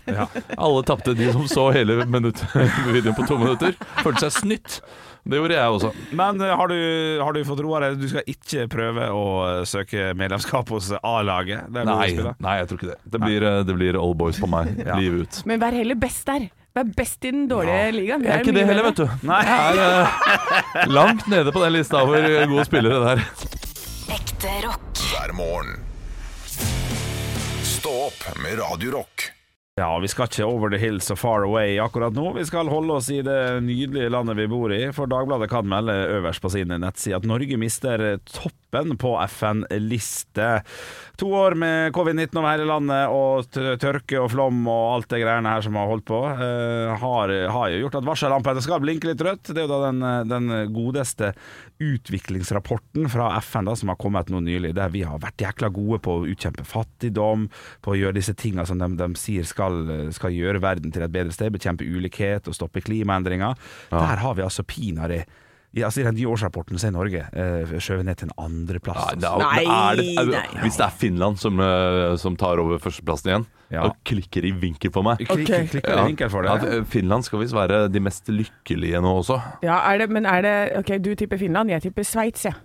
Speaker 3: Alle tapte, de som så hele minutt, videoen på to minutter. Følte seg snytt. Det gjorde jeg også.
Speaker 4: Men eh, har du, har du fått roa deg? Du skal ikke prøve å eh, søke medlemskap hos A-laget? der du
Speaker 3: Nei,
Speaker 4: spiller?
Speaker 3: nei, jeg tror ikke det. Det blir, eh, det blir all boys på meg livet ut.
Speaker 5: Men vær heller best der. Vær best i den dårlige ligaen.
Speaker 3: Jeg er ikke det heller, vet du.
Speaker 4: Nei.
Speaker 3: Jeg er eh, langt nede på den lista over gode spillere der.
Speaker 6: Ekte rock.
Speaker 2: hver morgen. Stå opp med Radio Rock.
Speaker 4: Ja, vi skal ikke over the hill so far away akkurat nå. Vi skal holde oss i det nydelige landet vi bor i, for Dagbladet kan melde øverst på sine nettsider at Norge mister toppen på FN-liste. To år med covid-19 over hele landet og t- tørke og flom og alt det greiene her som har holdt på, eh, har, har jo gjort at varsellampene skal blinke litt rødt. Det er jo da den, den godeste utviklingsrapporten fra FN da, som har kommet nå nylig, der vi har vært jækla gode på å utkjempe fattigdom, på å gjøre disse tinga som de, de sier skal, skal gjøre verden til et bedre sted, bekjempe ulikhet og stoppe klimaendringer. Der har vi altså pinadø i, altså I den nye årsrapporten så er Norge eh, skjøvet ned til en andreplass.
Speaker 3: Nei, det
Speaker 4: altså.
Speaker 3: er,
Speaker 5: Nei,
Speaker 3: er det, er,
Speaker 5: nei.
Speaker 3: Hvis det er Finland som, eh, som tar over førsteplassen igjen,
Speaker 4: Ja.
Speaker 3: og klikker i vinkel for meg
Speaker 4: Klikk-
Speaker 5: Ok.
Speaker 4: Klikker det vinkel for det?
Speaker 3: Ja, eh, Finland skal visst være de mest lykkelige nå også.
Speaker 5: Ja, er det, men er det Ok, du tipper Finland, jeg tipper Sveits, jeg.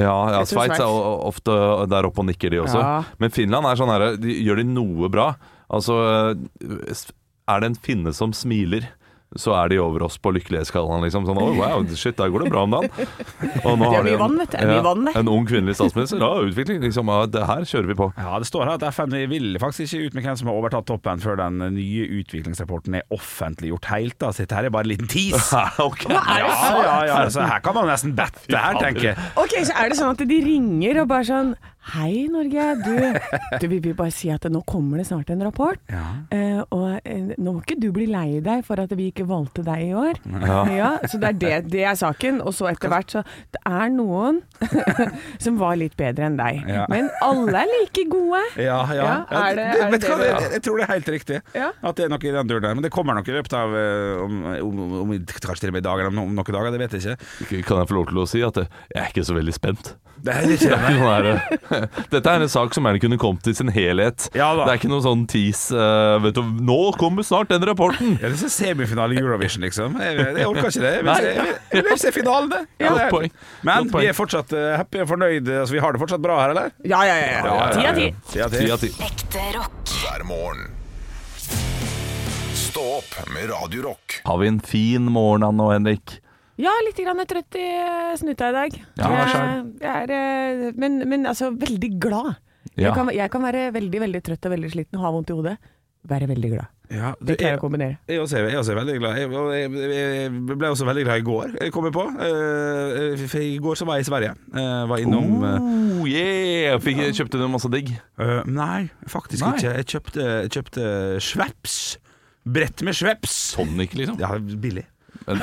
Speaker 3: Ja, ja
Speaker 5: Jeg tror
Speaker 3: Sveits er
Speaker 5: Sveits.
Speaker 3: o- ofte der oppe og nikker, de også.
Speaker 5: Ja.
Speaker 3: Men Finland er sånn her de, Gjør de noe bra? Altså eh, s- Er det en finne som smiler? Så er de over oss på lykkelighetsskalaen. Liksom. Sånn, oh, wow, shit, der går det bra om dagen. Og nå
Speaker 5: Det er
Speaker 3: har de
Speaker 5: mye
Speaker 3: en-
Speaker 5: vann, vet du. Det er mye
Speaker 3: ja,
Speaker 5: vann der.
Speaker 3: En ung kvinnelig statsminister. Ja, utvikling. Liksom, ja, det her kjører vi på.
Speaker 4: Ja, Det står her at FN vil faktisk ikke ut med hvem som har overtatt toppen før den nye utviklingsrapporten er offentliggjort helt. Da. Så dette her er bare en liten tease.
Speaker 3: Ok.
Speaker 4: Ja, ja, ja, altså, her kan man nesten bette her, tenker jeg.
Speaker 5: Ok, så er det sånn at de ringer og bare sånn Hei, Norge. Du, du vi vil bare si at nå kommer det snart en rapport. Eh, og eh, nå må ikke du bli lei deg for at vi ikke valgte deg i år. Ja. så det er, det, det er saken. Og så etter hvert, så Det er noen som var litt bedre enn deg.
Speaker 4: Ja.
Speaker 5: Men alle er like gode.
Speaker 4: Ja, ja.
Speaker 5: Ja, er det- er det
Speaker 4: vet du hva,
Speaker 5: det-
Speaker 4: jeg, jeg tror det er helt riktig
Speaker 5: Ja.
Speaker 4: at det er noe i den duren der. Men det kommer nok i løpet av eh, om, om, om, Kanskje til og med i dag eller om, om noen dager, det vet jeg ikke.
Speaker 3: Kan jeg få lov til å si at eh, jeg er ikke så veldig spent?
Speaker 4: Det er ikke
Speaker 3: Det er ikke sånn her, eh, Dette er en sak som gjerne kunne kommet i sin helhet.
Speaker 4: Ja da.
Speaker 3: det er ikke noe sånn tease eh, vet du, 'Nå kommer snart den rapporten!'
Speaker 4: ja, det er sånn semifinale i Eurovision, liksom. Jeg, jeg orker ikke det. Jeg vil, se- jeg vil, jeg vil se finalen, det.
Speaker 3: Godt
Speaker 4: det er-
Speaker 3: poeng.
Speaker 4: Men
Speaker 3: Godt poeng.
Speaker 4: vi er fortsatt eh, happy og fornøyd. Altså, vi har det fortsatt bra her, eller?
Speaker 5: Ja, ja, ja. ja. Ti av ti.
Speaker 4: Ti av ti.
Speaker 3: Ti av ti.
Speaker 6: Ekte rock.
Speaker 2: hver morgen. Stå opp med Radio Rock.
Speaker 3: Har vi en fin morgen, Anne og Henrik?
Speaker 5: Ja, litt grann trøtt i eh, snuta i dag.
Speaker 3: Ja, hva
Speaker 5: jeg, jeg er, eh, men, men altså, veldig glad.
Speaker 3: Ja.
Speaker 5: Jeg, kan, jeg kan være veldig veldig trøtt og veldig sliten og ha vondt i hodet. Være veldig glad.
Speaker 4: Ja, du,
Speaker 5: Det
Speaker 4: jeg-
Speaker 5: klarer jeg å kombinere.
Speaker 4: Jeg også er, jeg også er veldig glad. Jeg, og jeg, jeg jeg ble også veldig glad i går, jeg kommer på. Eh, for I går så var jeg i Sverige. Eh, var innom eh,
Speaker 3: Oh, yeah! Fikk, kjøpte du masse digg?
Speaker 4: eh, Nei, faktisk
Speaker 3: Nei.
Speaker 4: ikke. Jeg kjøpte, jeg kjøpte Schweppes. Brett med Schweppes.
Speaker 3: Tonic, liksom?
Speaker 4: Ja, billig.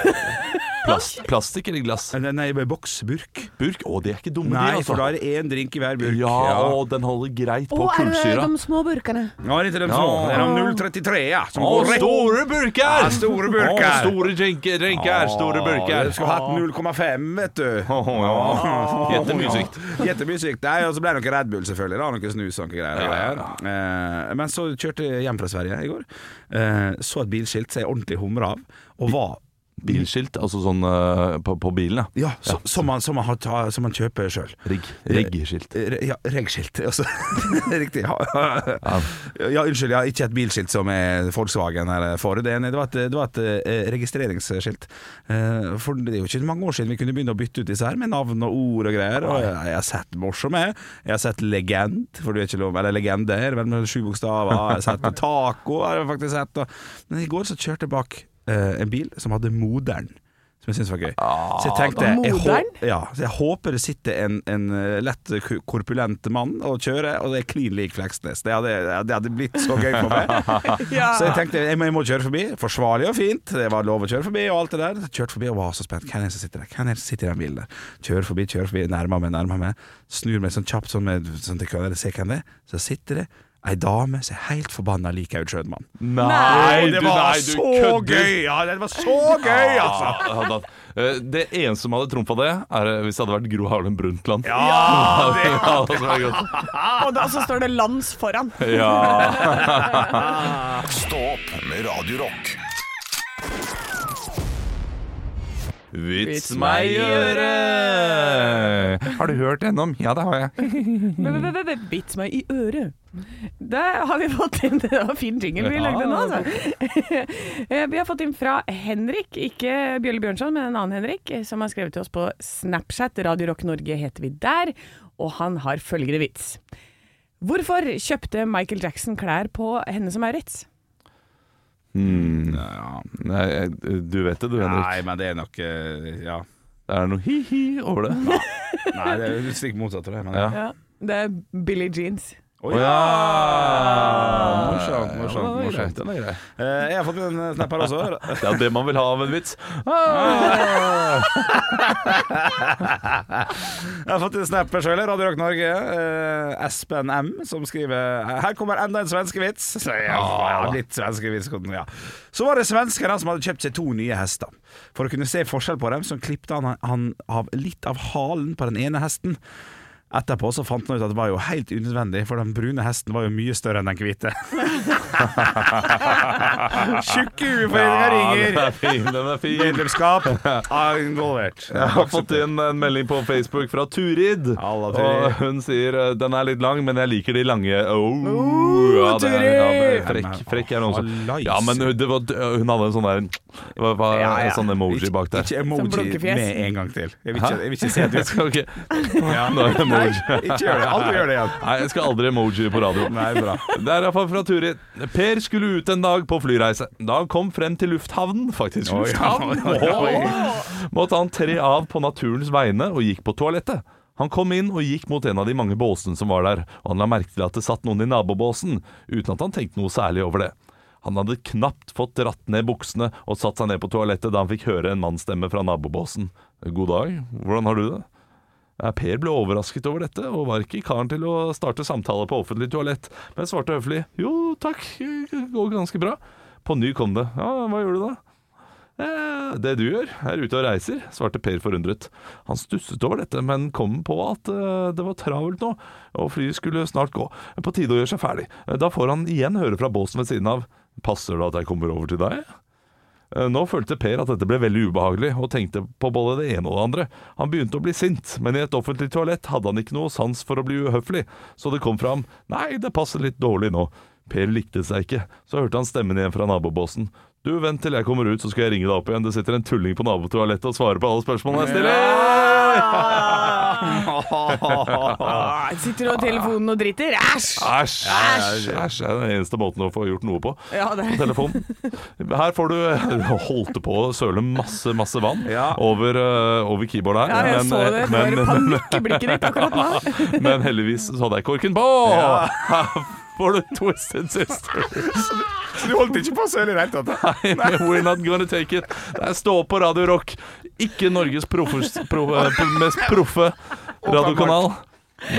Speaker 3: Plast, plastikk eller glass?
Speaker 4: Eh, Nei, boks. Burk.
Speaker 3: Burk? Å, de er ikke dumme,
Speaker 4: Nei,
Speaker 3: de, altså.
Speaker 4: for da er det én drink i hver burk.
Speaker 3: ja, og den holder greit på
Speaker 5: Å, er det
Speaker 3: kullsyra.
Speaker 5: de små burkene?
Speaker 4: Nå er det ikke de små.
Speaker 3: Ja.
Speaker 4: sånn. Det er de 033, ja. Som
Speaker 3: Å,
Speaker 4: går rett
Speaker 3: store burker!
Speaker 4: Ja, store burker.
Speaker 3: Å, store drinker, drinker, store burker.
Speaker 4: Du skulle hatt 0,5, vet du.
Speaker 3: Åh, ja. Jättemye sykt.
Speaker 4: Jättemye Ah, sykt. Nei, og så ble det noe Red Bull, selvfølgelig. Da. Noe snus og noe greier. og greier. Eh, Men så kjørte jeg hjem fra Sverige i går. Eh, Så et bilskilt som jeg ordentlig humra av, og var
Speaker 3: Bilskilt, altså sånn eh, på, på bilen, ja.
Speaker 4: ja, så, Som, man, som, man, har ta- som man kjøper sjøl.
Speaker 3: Rigg. Riggeskilt.
Speaker 4: Ja, regskilt. Altså, riktig. Ja, ja, unnskyld, ja, ikke et bilskilt som er Volkswagen eller Ford. Det er en- det var et, det var et eh, registreringsskilt. Eh, For det er jo ikke mange år siden vi kunne begynne å bytte ut disse her med navn og ord og greier. Og jeg, jeg har sett morsomme, jeg har sett legend, for du er ikke lov Eller legende er det vel med sju bokstaver. Jeg har sett taco, har jeg faktisk sett. Og, men i går så kjørte jeg bak eh, en bil som hadde moderen. Som jeg syntes var gøy.
Speaker 3: Ah,
Speaker 4: Så jeg tenkte jeg,
Speaker 5: Moderen?
Speaker 4: hå- ja, så jeg håper det sitter en, en eh, lett k- korpulent mann og kjører, og det er klin lik Fleksnes. Det hadde, det hadde blitt så gøy for meg. Så jeg tenkte jeg må, jeg må kjøre forbi. Forsvarlig og fint, det var lov å kjøre forbi og alt det der. Kjørte forbi og var så spent. Hvem er det som sitter der? Hvem er det som sitter i den bilen der? Kjører forbi, kjører forbi, nærmer meg, nærmer meg. Snur meg sånn kjapt sånn, med, sånn til køen, se hvem det er. Så sitter det ei dame som er helt forbanna lik Aud Schødmann.
Speaker 3: Nei,
Speaker 4: Og det var så gøy! Ja, det var så gøy, altså!
Speaker 3: Ah, hadde hatt. Eh, Det eneste som hadde trumfa det, er eh, hvis det hadde vært Gro Harlem Brundtland. Ja, det hadde vært godt.
Speaker 5: Og da så står det lands foran.
Speaker 3: Ja.
Speaker 2: Stå opp med Radio Rock.
Speaker 3: Vits meg i øret! Har du hørt gjennom? Ja, det har jeg.
Speaker 5: Mm. Bits meg i øret. Der har vi fått inn Det var fin jingle vi lagde nå, altså. Eh, Vi har fått inn fra Henrik, ikke Bjølle Bjørnson, men en annen Henrik, eh, som har skrevet til oss på Snapchat. Radio Rock Norge heter vi der. Og han har følgende vits. Hvorfor kjøpte Michael Jackson klær på henne som Maurits?
Speaker 3: Hmm.
Speaker 4: Ja.
Speaker 3: Nei, jeg- du vet det du, Henrik.
Speaker 4: Nei, men det er nok eh, Ja.
Speaker 3: Det er noe hi-hi over det.
Speaker 4: Nei, det er jo stikk motsatt av det. Men,
Speaker 3: Ja.
Speaker 5: Ja, det er Billie Jeans.
Speaker 4: Å
Speaker 3: Å ja!
Speaker 4: Morsomt,
Speaker 3: Ja,
Speaker 4: morsomt. morsomt.
Speaker 3: Den er grei.
Speaker 4: Eh, jeg har fått en eh, snap her også.
Speaker 3: Det er det man vil ha av en vits. Ah!
Speaker 4: Jeg har fått en snap selv, Radio Rock Norge. Eh, Espen M, som skriver Her kommer enda en svenskevits. Så jeg har blitt svenskevits. Ja. Så var det svenskene som hadde kjøpt seg to nye hester. For å kunne se forskjell på dem, så klippte han, han av litt av halen på den ene hesten. Etterpå så fant han ut at det var jo helt unødvendig, for den brune hesten var jo mye større enn den hvite. Tjukkehueforeninga
Speaker 3: den
Speaker 4: ringer!
Speaker 3: er fin, den er fin.
Speaker 4: Medlemskap er involvert.
Speaker 3: Jeg har fått inn en melding på Facebook fra Turid.
Speaker 4: Halla, Turid.
Speaker 3: Og hun sier eh, den er litt lang, men jeg liker de lange oh, ja, det er- ja, det er Frekk, frekk er hun også.
Speaker 4: Hallais.
Speaker 3: Ja, men hun- det var, hun hadde en sånn der hva- hva- En sånn emoji bak der.
Speaker 4: Ikke
Speaker 5: Sånn
Speaker 4: emoji
Speaker 5: blunkefjes.
Speaker 4: med en gang til. Jeg vil ikke, jeg vil ikke se at vi skal
Speaker 3: Ok. Nå er det emoji.
Speaker 4: Ikke gjør det. Aldri gjør det igjen.
Speaker 3: Nei, jeg skal aldri emoji på radio.
Speaker 4: Nei, bra.
Speaker 3: Det er iallfall fra Turid. Per skulle ut en dag på flyreise. Da han kom frem til lufthavnen, faktisk
Speaker 4: Oi,
Speaker 3: lufthavnen,
Speaker 4: oi, oi, oi.
Speaker 3: Åh! måtte han tre av på naturens vegne og gikk på toalettet. Han kom inn og gikk mot en av de mange båsene som var der, og han la merke til at det satt noen i nabobåsen, uten at han tenkte noe særlig over det. Han hadde knapt fått dratt ned buksene og satt seg ned på toalettet da han fikk høre en mannsstemme fra nabobåsen. God dag, hvordan har du det? Ja, Per ble overrasket over dette, og var ikke karen til å starte samtale på offentlig toalett, men svarte høflig jo takk, det går ganske bra. På ny kom det ja, hva gjør du da? Eh, det du gjør, er ute og reiser, svarte Per forundret. Han stusset over dette, men kom på at eh, det var travelt nå, og flyet skulle snart gå. På tide å gjøre seg ferdig. Eh, Da får han igjen høre fra båsen ved siden av passer det at jeg kommer over til deg? Eh, Nå følte Per at dette ble veldig ubehagelig, og tenkte på både det ene og det andre. Han begynte å bli sint, men i et offentlig toalett hadde han ikke noe sans for å bli uhøflig, så det kom fram Nei, det passer litt dårlig nå. Per likte seg ikke, så hørte han stemmen igjen fra nabobåsen. Du, vent til jeg kommer ut, så skal jeg ringe deg opp igjen. Det sitter en tulling på nabotoalettet og svarer på alle spørsmålene jeg stiller!
Speaker 5: Ah, sitter du på telefonen og driter? Æsj!
Speaker 3: Æsj! Æsj! Æsj! Det er den eneste måten å få gjort noe på.
Speaker 5: Ja, det er
Speaker 3: telefon. Her får du eh, holdt på å søle masse, masse vann
Speaker 4: Ja.
Speaker 3: over, eh, over keyboardet her.
Speaker 5: ja, jeg så det. Det var
Speaker 3: men,
Speaker 5: panikk i blikket ditt akkurat nå.
Speaker 3: men heldigvis så hadde jeg korken på! Her får du Twisted Sisters
Speaker 4: Så du holdt ikke på å søle i det hele tatt?
Speaker 3: med We're Not Gonna Take It. Det er Stå på Radio Rock, ikke Norges proffes, pro, eh, mest proffe radiokanal.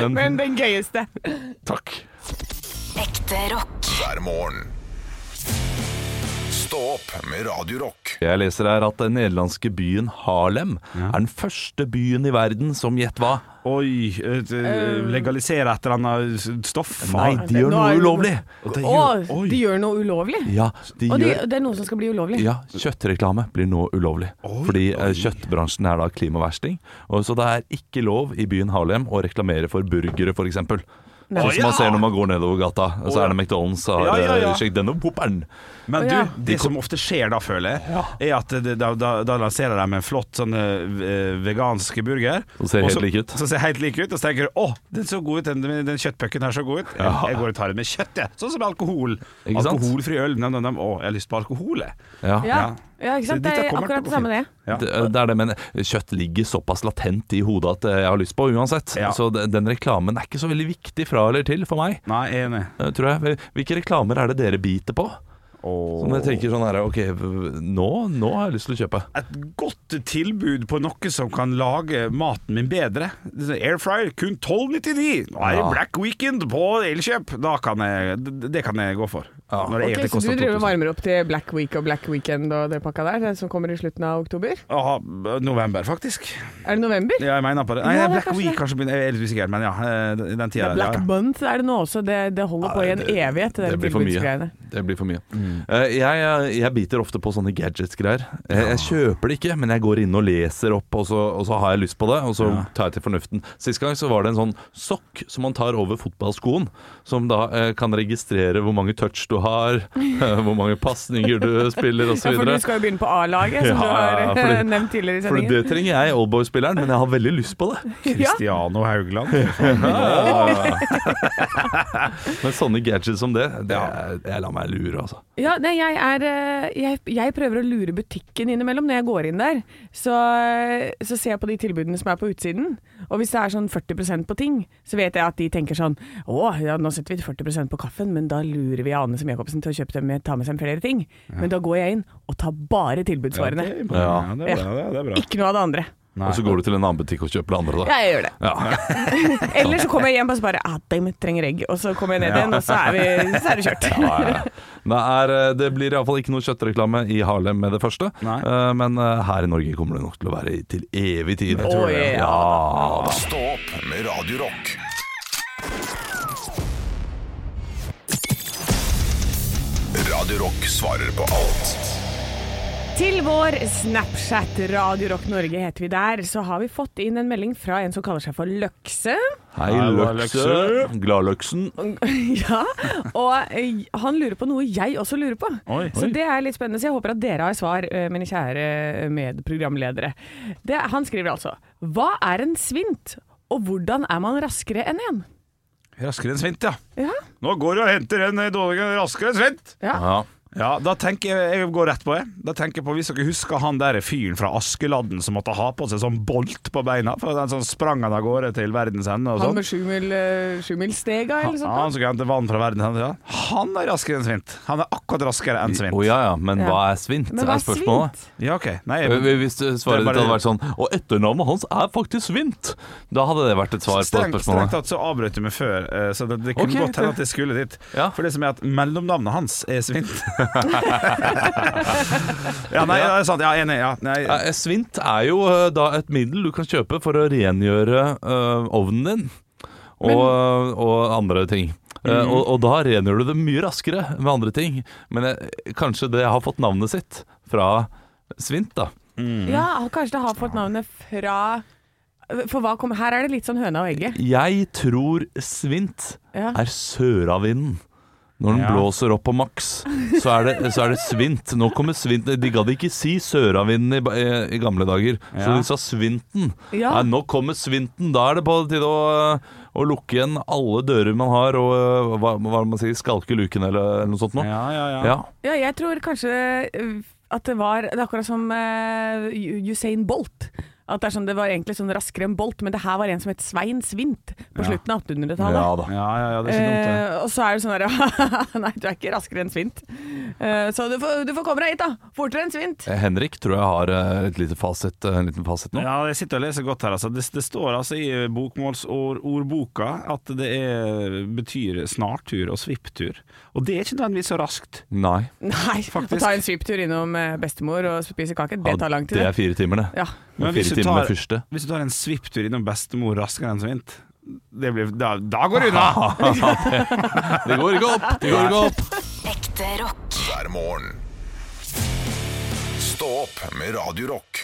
Speaker 3: Men
Speaker 5: Men den gøyeste.
Speaker 3: takk.
Speaker 6: Ekte rock.
Speaker 2: hver morgen. Stå opp med Radio Rock.
Speaker 3: Jeg leser her at den nederlandske byen Harlem er den første byen i verden som gjett hva?
Speaker 4: Oi. eh, eh, Legalisere et eller annet stoff?
Speaker 3: Nei,
Speaker 4: faen.
Speaker 3: de gjør
Speaker 5: Nå
Speaker 3: noe
Speaker 5: er det-
Speaker 3: ulovlig!
Speaker 4: Det
Speaker 5: Å,
Speaker 4: gjør- oi.
Speaker 5: de gjør noe ulovlig?
Speaker 3: Ja, de
Speaker 5: Og de,
Speaker 3: gjør
Speaker 5: det er noe som skal bli ulovlig?
Speaker 3: Ja, kjøttreklame blir nå ulovlig. fordi eh, kjøttbransjen er da klimaversting. Og så det er ikke lov i byen Harlem å reklamere for burgere, f.eks.
Speaker 5: Nei.
Speaker 3: Sånn som man ser når man går nedover gata. Så er det McDonald's og
Speaker 4: Ja,
Speaker 3: har
Speaker 4: ja, ja.
Speaker 3: eh, sjekk denne popperen.
Speaker 4: Men
Speaker 5: Å, ja.
Speaker 4: du, det som ofte skjer da, føler jeg, er at det- da, da, da lanserer de en flott sånn eh, vegansk burger.
Speaker 3: Som ser helt
Speaker 4: og så-
Speaker 3: lik ut.
Speaker 4: Som ser helt lik ut. Og så tenker du å, den så god ut, den, den kjøttpucken her så god ut.
Speaker 3: Ja.
Speaker 4: Jeg, jeg går og tar den med kjøtt, jeg. Sånn som alkohol.
Speaker 3: Ikke sant?
Speaker 4: Alkoholfri øl. Nam, nam, nam. Å, jeg har lyst på alkohol, jeg.
Speaker 3: Ja.
Speaker 5: Ja, ja ikke sant? Det
Speaker 4: Dette
Speaker 5: er
Speaker 4: kommer
Speaker 5: akkurat det
Speaker 4: til å gå
Speaker 5: samme, det.
Speaker 4: fint. Ja.
Speaker 3: Det, eh, det er det, men kjøtt ligger såpass latent i hodet at eh, jeg har lyst på uansett.
Speaker 4: Ja.
Speaker 3: Så de- den reklamen er ikke så veldig viktig fra eller til for meg,
Speaker 4: Nei, jeg er enig.
Speaker 3: eh, tror jeg. Hvilke reklamer er det dere biter på?
Speaker 4: Åh.
Speaker 3: Som dere tenker sånn her OK, nå, nå har jeg lyst til å kjøpe.
Speaker 4: et godt tilbud på noe som kan lage maten min bedre. Airfryer kun 12,99. Nå er det
Speaker 3: Ja.
Speaker 4: Black Weekend på Elkjøp. Da kan jeg, d- det kan jeg gå for. Når
Speaker 5: Ok,
Speaker 4: det egentlig
Speaker 5: så du
Speaker 4: koster
Speaker 5: driver og
Speaker 4: 2000.
Speaker 5: varmer opp til Black Week og Black Weekend og det pakka der, det som kommer i slutten av oktober?
Speaker 4: Aha, november, faktisk.
Speaker 5: Er det november?
Speaker 4: Ja, jeg mener på det. Nei,
Speaker 5: Ja, det er
Speaker 4: Black
Speaker 5: kanskje
Speaker 4: Week
Speaker 5: det.
Speaker 4: kanskje begynner, jeg er litt usikker, men ja. eh, Den tida
Speaker 5: Black
Speaker 4: der. ja.
Speaker 5: Month er det nå også, det, det holder på i en evighet, det,
Speaker 3: det
Speaker 5: der
Speaker 3: blir for mye.
Speaker 5: tilbudsgreiene.
Speaker 3: Det blir for mye. Eh, Jeg, jeg biter ofte på sånne gadgets-greier. Eh, Jeg, jeg kjøper det ikke, men jeg går inn og leser opp, og så, og så har jeg lyst på det. Og så
Speaker 4: Ja.
Speaker 3: tar jeg til fornuften. Sist gang så var det en sånn sokk som man tar over fotballskoen, som da eh, kan registrere hvor mange touch du har, eh, hvor mange pasninger du spiller
Speaker 5: Ja,
Speaker 3: osv.
Speaker 5: for du skal jo begynne på A-laget, som
Speaker 3: Ja, ja,
Speaker 5: du har
Speaker 3: fordi-
Speaker 5: nevnt tidligere i
Speaker 3: For
Speaker 5: sendingen.
Speaker 3: det trenger jeg, oldboy-spilleren, men jeg har veldig lyst på det.
Speaker 5: Ja.
Speaker 4: Christiano Haugland.
Speaker 3: Men sånne gadgets som det, det er, jeg lar meg lure, altså.
Speaker 5: Ja, nei, jeg, er, eh, jeg, jeg prøver å lure butikken innimellom når jeg går inn der. Så, eh, så ser jeg på de tilbudene som er på utsiden. Og hvis det er sånn 40 på ting, så vet jeg at de tenker sånn Å, ja, nå setter vi 40 på kaffen, men da lurer vi Ane som Jacobsen til å kjøpe dem med, ta med seg flere ting. Men da går jeg inn og tar bare tilbudsvarene.
Speaker 4: Ja, det er bra. Det er, det er bra.
Speaker 5: Ikke noe av det andre.
Speaker 3: Og så går du til en annen butikk og kjøper det andre, da.
Speaker 5: Jeg gjør det.
Speaker 3: Ja.
Speaker 5: Eller så kommer jeg hjem og så bare ah, damn, it, trenger egg. Og så kommer jeg ned igjen, og så er, vi, så er det kjørt.
Speaker 3: Ja, ja. Det, er, eh, det blir iallfall ikke noe kjøttreklame i Harlem med det første.
Speaker 4: Nei.
Speaker 3: Eh, Men eh, her i Norge kommer det nok til å være i- til evig tid.
Speaker 5: tror det, ja.
Speaker 3: Ja.
Speaker 2: Stå opp med Radio Rock. Radio Rock svarer på alt.
Speaker 5: Til vår Snapchat Radio Rock Norge heter vi der, så har vi fått inn en melding fra en som kaller seg for Løkse.
Speaker 3: Hei,
Speaker 4: Hallo,
Speaker 3: Løkse. Gladløksen.
Speaker 5: ja, og eh, han lurer på noe jeg også lurer på.
Speaker 4: Oi.
Speaker 5: så
Speaker 4: Oi.
Speaker 5: det er litt spennende, så jeg håper at dere har svar, eh, mine kjære eh, medprogramledere. Det, han skriver altså Hva er en svint, og hvordan er man raskere enn en?
Speaker 4: Raskere enn svint, ja.
Speaker 5: Ja,
Speaker 4: Nå går du og henter en eh, dårlig raskere enn svint.
Speaker 5: ja.
Speaker 3: Ja.
Speaker 4: Ja, da tenker jeg, jeg går rett på det. Da tenker jeg på Hvis dere husker han der fyren fra Askeladden som måtte ha på seg sånn bolt på beina, for den sånn sprang han av gårde til verdens ende og
Speaker 5: Han
Speaker 4: sånn.
Speaker 5: med sånn, sjumil, eh, sjumilsstega eller
Speaker 4: Ja, han
Speaker 5: sånt.
Speaker 4: skulle hente vann fra verdens ende. Ja. Han er raskere enn svint. Han er akkurat raskere enn svint.
Speaker 3: Å ja, ja, men
Speaker 5: Ja.
Speaker 3: hva er svint?
Speaker 5: da. Men hva
Speaker 3: er
Speaker 5: er
Speaker 3: spørsmålet.
Speaker 5: svint?
Speaker 4: Ja, ok. Nei,
Speaker 3: Eh, Hvis eh, svaret
Speaker 4: Det er
Speaker 3: ditt
Speaker 4: bare-
Speaker 3: hadde vært sånn Og etternavnet hans er faktisk Svint! Da hadde det vært et svar på
Speaker 4: Strengt, strengt
Speaker 3: spørsmålet.
Speaker 4: tatt så avbrøt du meg før, eh, så det, det kunne
Speaker 3: Ok,
Speaker 4: godt hende at jeg skulle dit.
Speaker 3: Ja.
Speaker 4: For det som er at mellomnavnet hans er Svint. ja, nei, det er sant. Ja, enig. Ja, nei.
Speaker 3: Eh, eh, Svint er jo eh, da et middel du kan kjøpe for å rengjøre eh, ovnen din og, eh, og andre ting. Eh, og, og da rengjør du det mye raskere med andre ting. Men eh, kanskje det har fått navnet sitt fra svint, da.
Speaker 5: Ja, kanskje det har fått navnet fra For hva kom, her er det litt sånn høna og egget.
Speaker 3: Jeg tror svint
Speaker 5: Ja.
Speaker 3: er søravinden. Når den
Speaker 4: Ja.
Speaker 3: blåser opp på maks, så er, det, så er det svint. Nå kommer svint De gadd ikke si søravinden i, ba- eh, i gamle dager, så
Speaker 4: Ja.
Speaker 3: de sa svinten.
Speaker 5: Ja.
Speaker 3: Nei, nå kommer svinten. Da er det på tide å, å lukke igjen alle dører man har, og eh, hva, hva man sier, skalke luken eller, eller noe sånt noe.
Speaker 4: Ja, ja, ja.
Speaker 3: Ja.
Speaker 5: Ja, jeg tror kanskje øh, at det var Det er akkurat som øh, U- Usain Bolt. At det, er sånn, det var egentlig sånn raskere enn Bolt, men det her var en som het Svein Svint på
Speaker 4: Ja.
Speaker 5: slutten av 800-tallet.
Speaker 3: Ja da.
Speaker 4: Ja, ja, ja, det er ikke dumt, det.
Speaker 5: Eh, og så er det sånn der Nei, du er ikke raskere enn Svint. Eh, så du får, du får komme deg hit, da. Fortere enn Svint.
Speaker 3: Eh, Henrik tror jeg har eh, et lite fasit, eh, en liten fasit nå.
Speaker 4: Ja, jeg sitter og leser godt her. Altså. Det, det står altså i bokmålsordboka at det er, betyr snartur og svipptur. Og det er ikke nødvendigvis så raskt.
Speaker 3: Nei.
Speaker 5: Nei, å
Speaker 4: Faktisk.
Speaker 5: ta en svipptur innom eh, bestemor og spise kake, det
Speaker 3: Ja,
Speaker 5: tar lang tid.
Speaker 3: Det er fire timer, det.
Speaker 5: Ja.
Speaker 4: Men hvis
Speaker 3: fire
Speaker 4: du
Speaker 3: timer
Speaker 4: tar-
Speaker 3: med fyrste.
Speaker 4: Hvis du tar en svipptur innom bestemor raskere enn svint, det blir, da, da går det unna!
Speaker 3: Det går ikke opp! Det går ikke opp!
Speaker 6: Ekte rock.
Speaker 2: hver morgen. Stå opp med Radio Rock.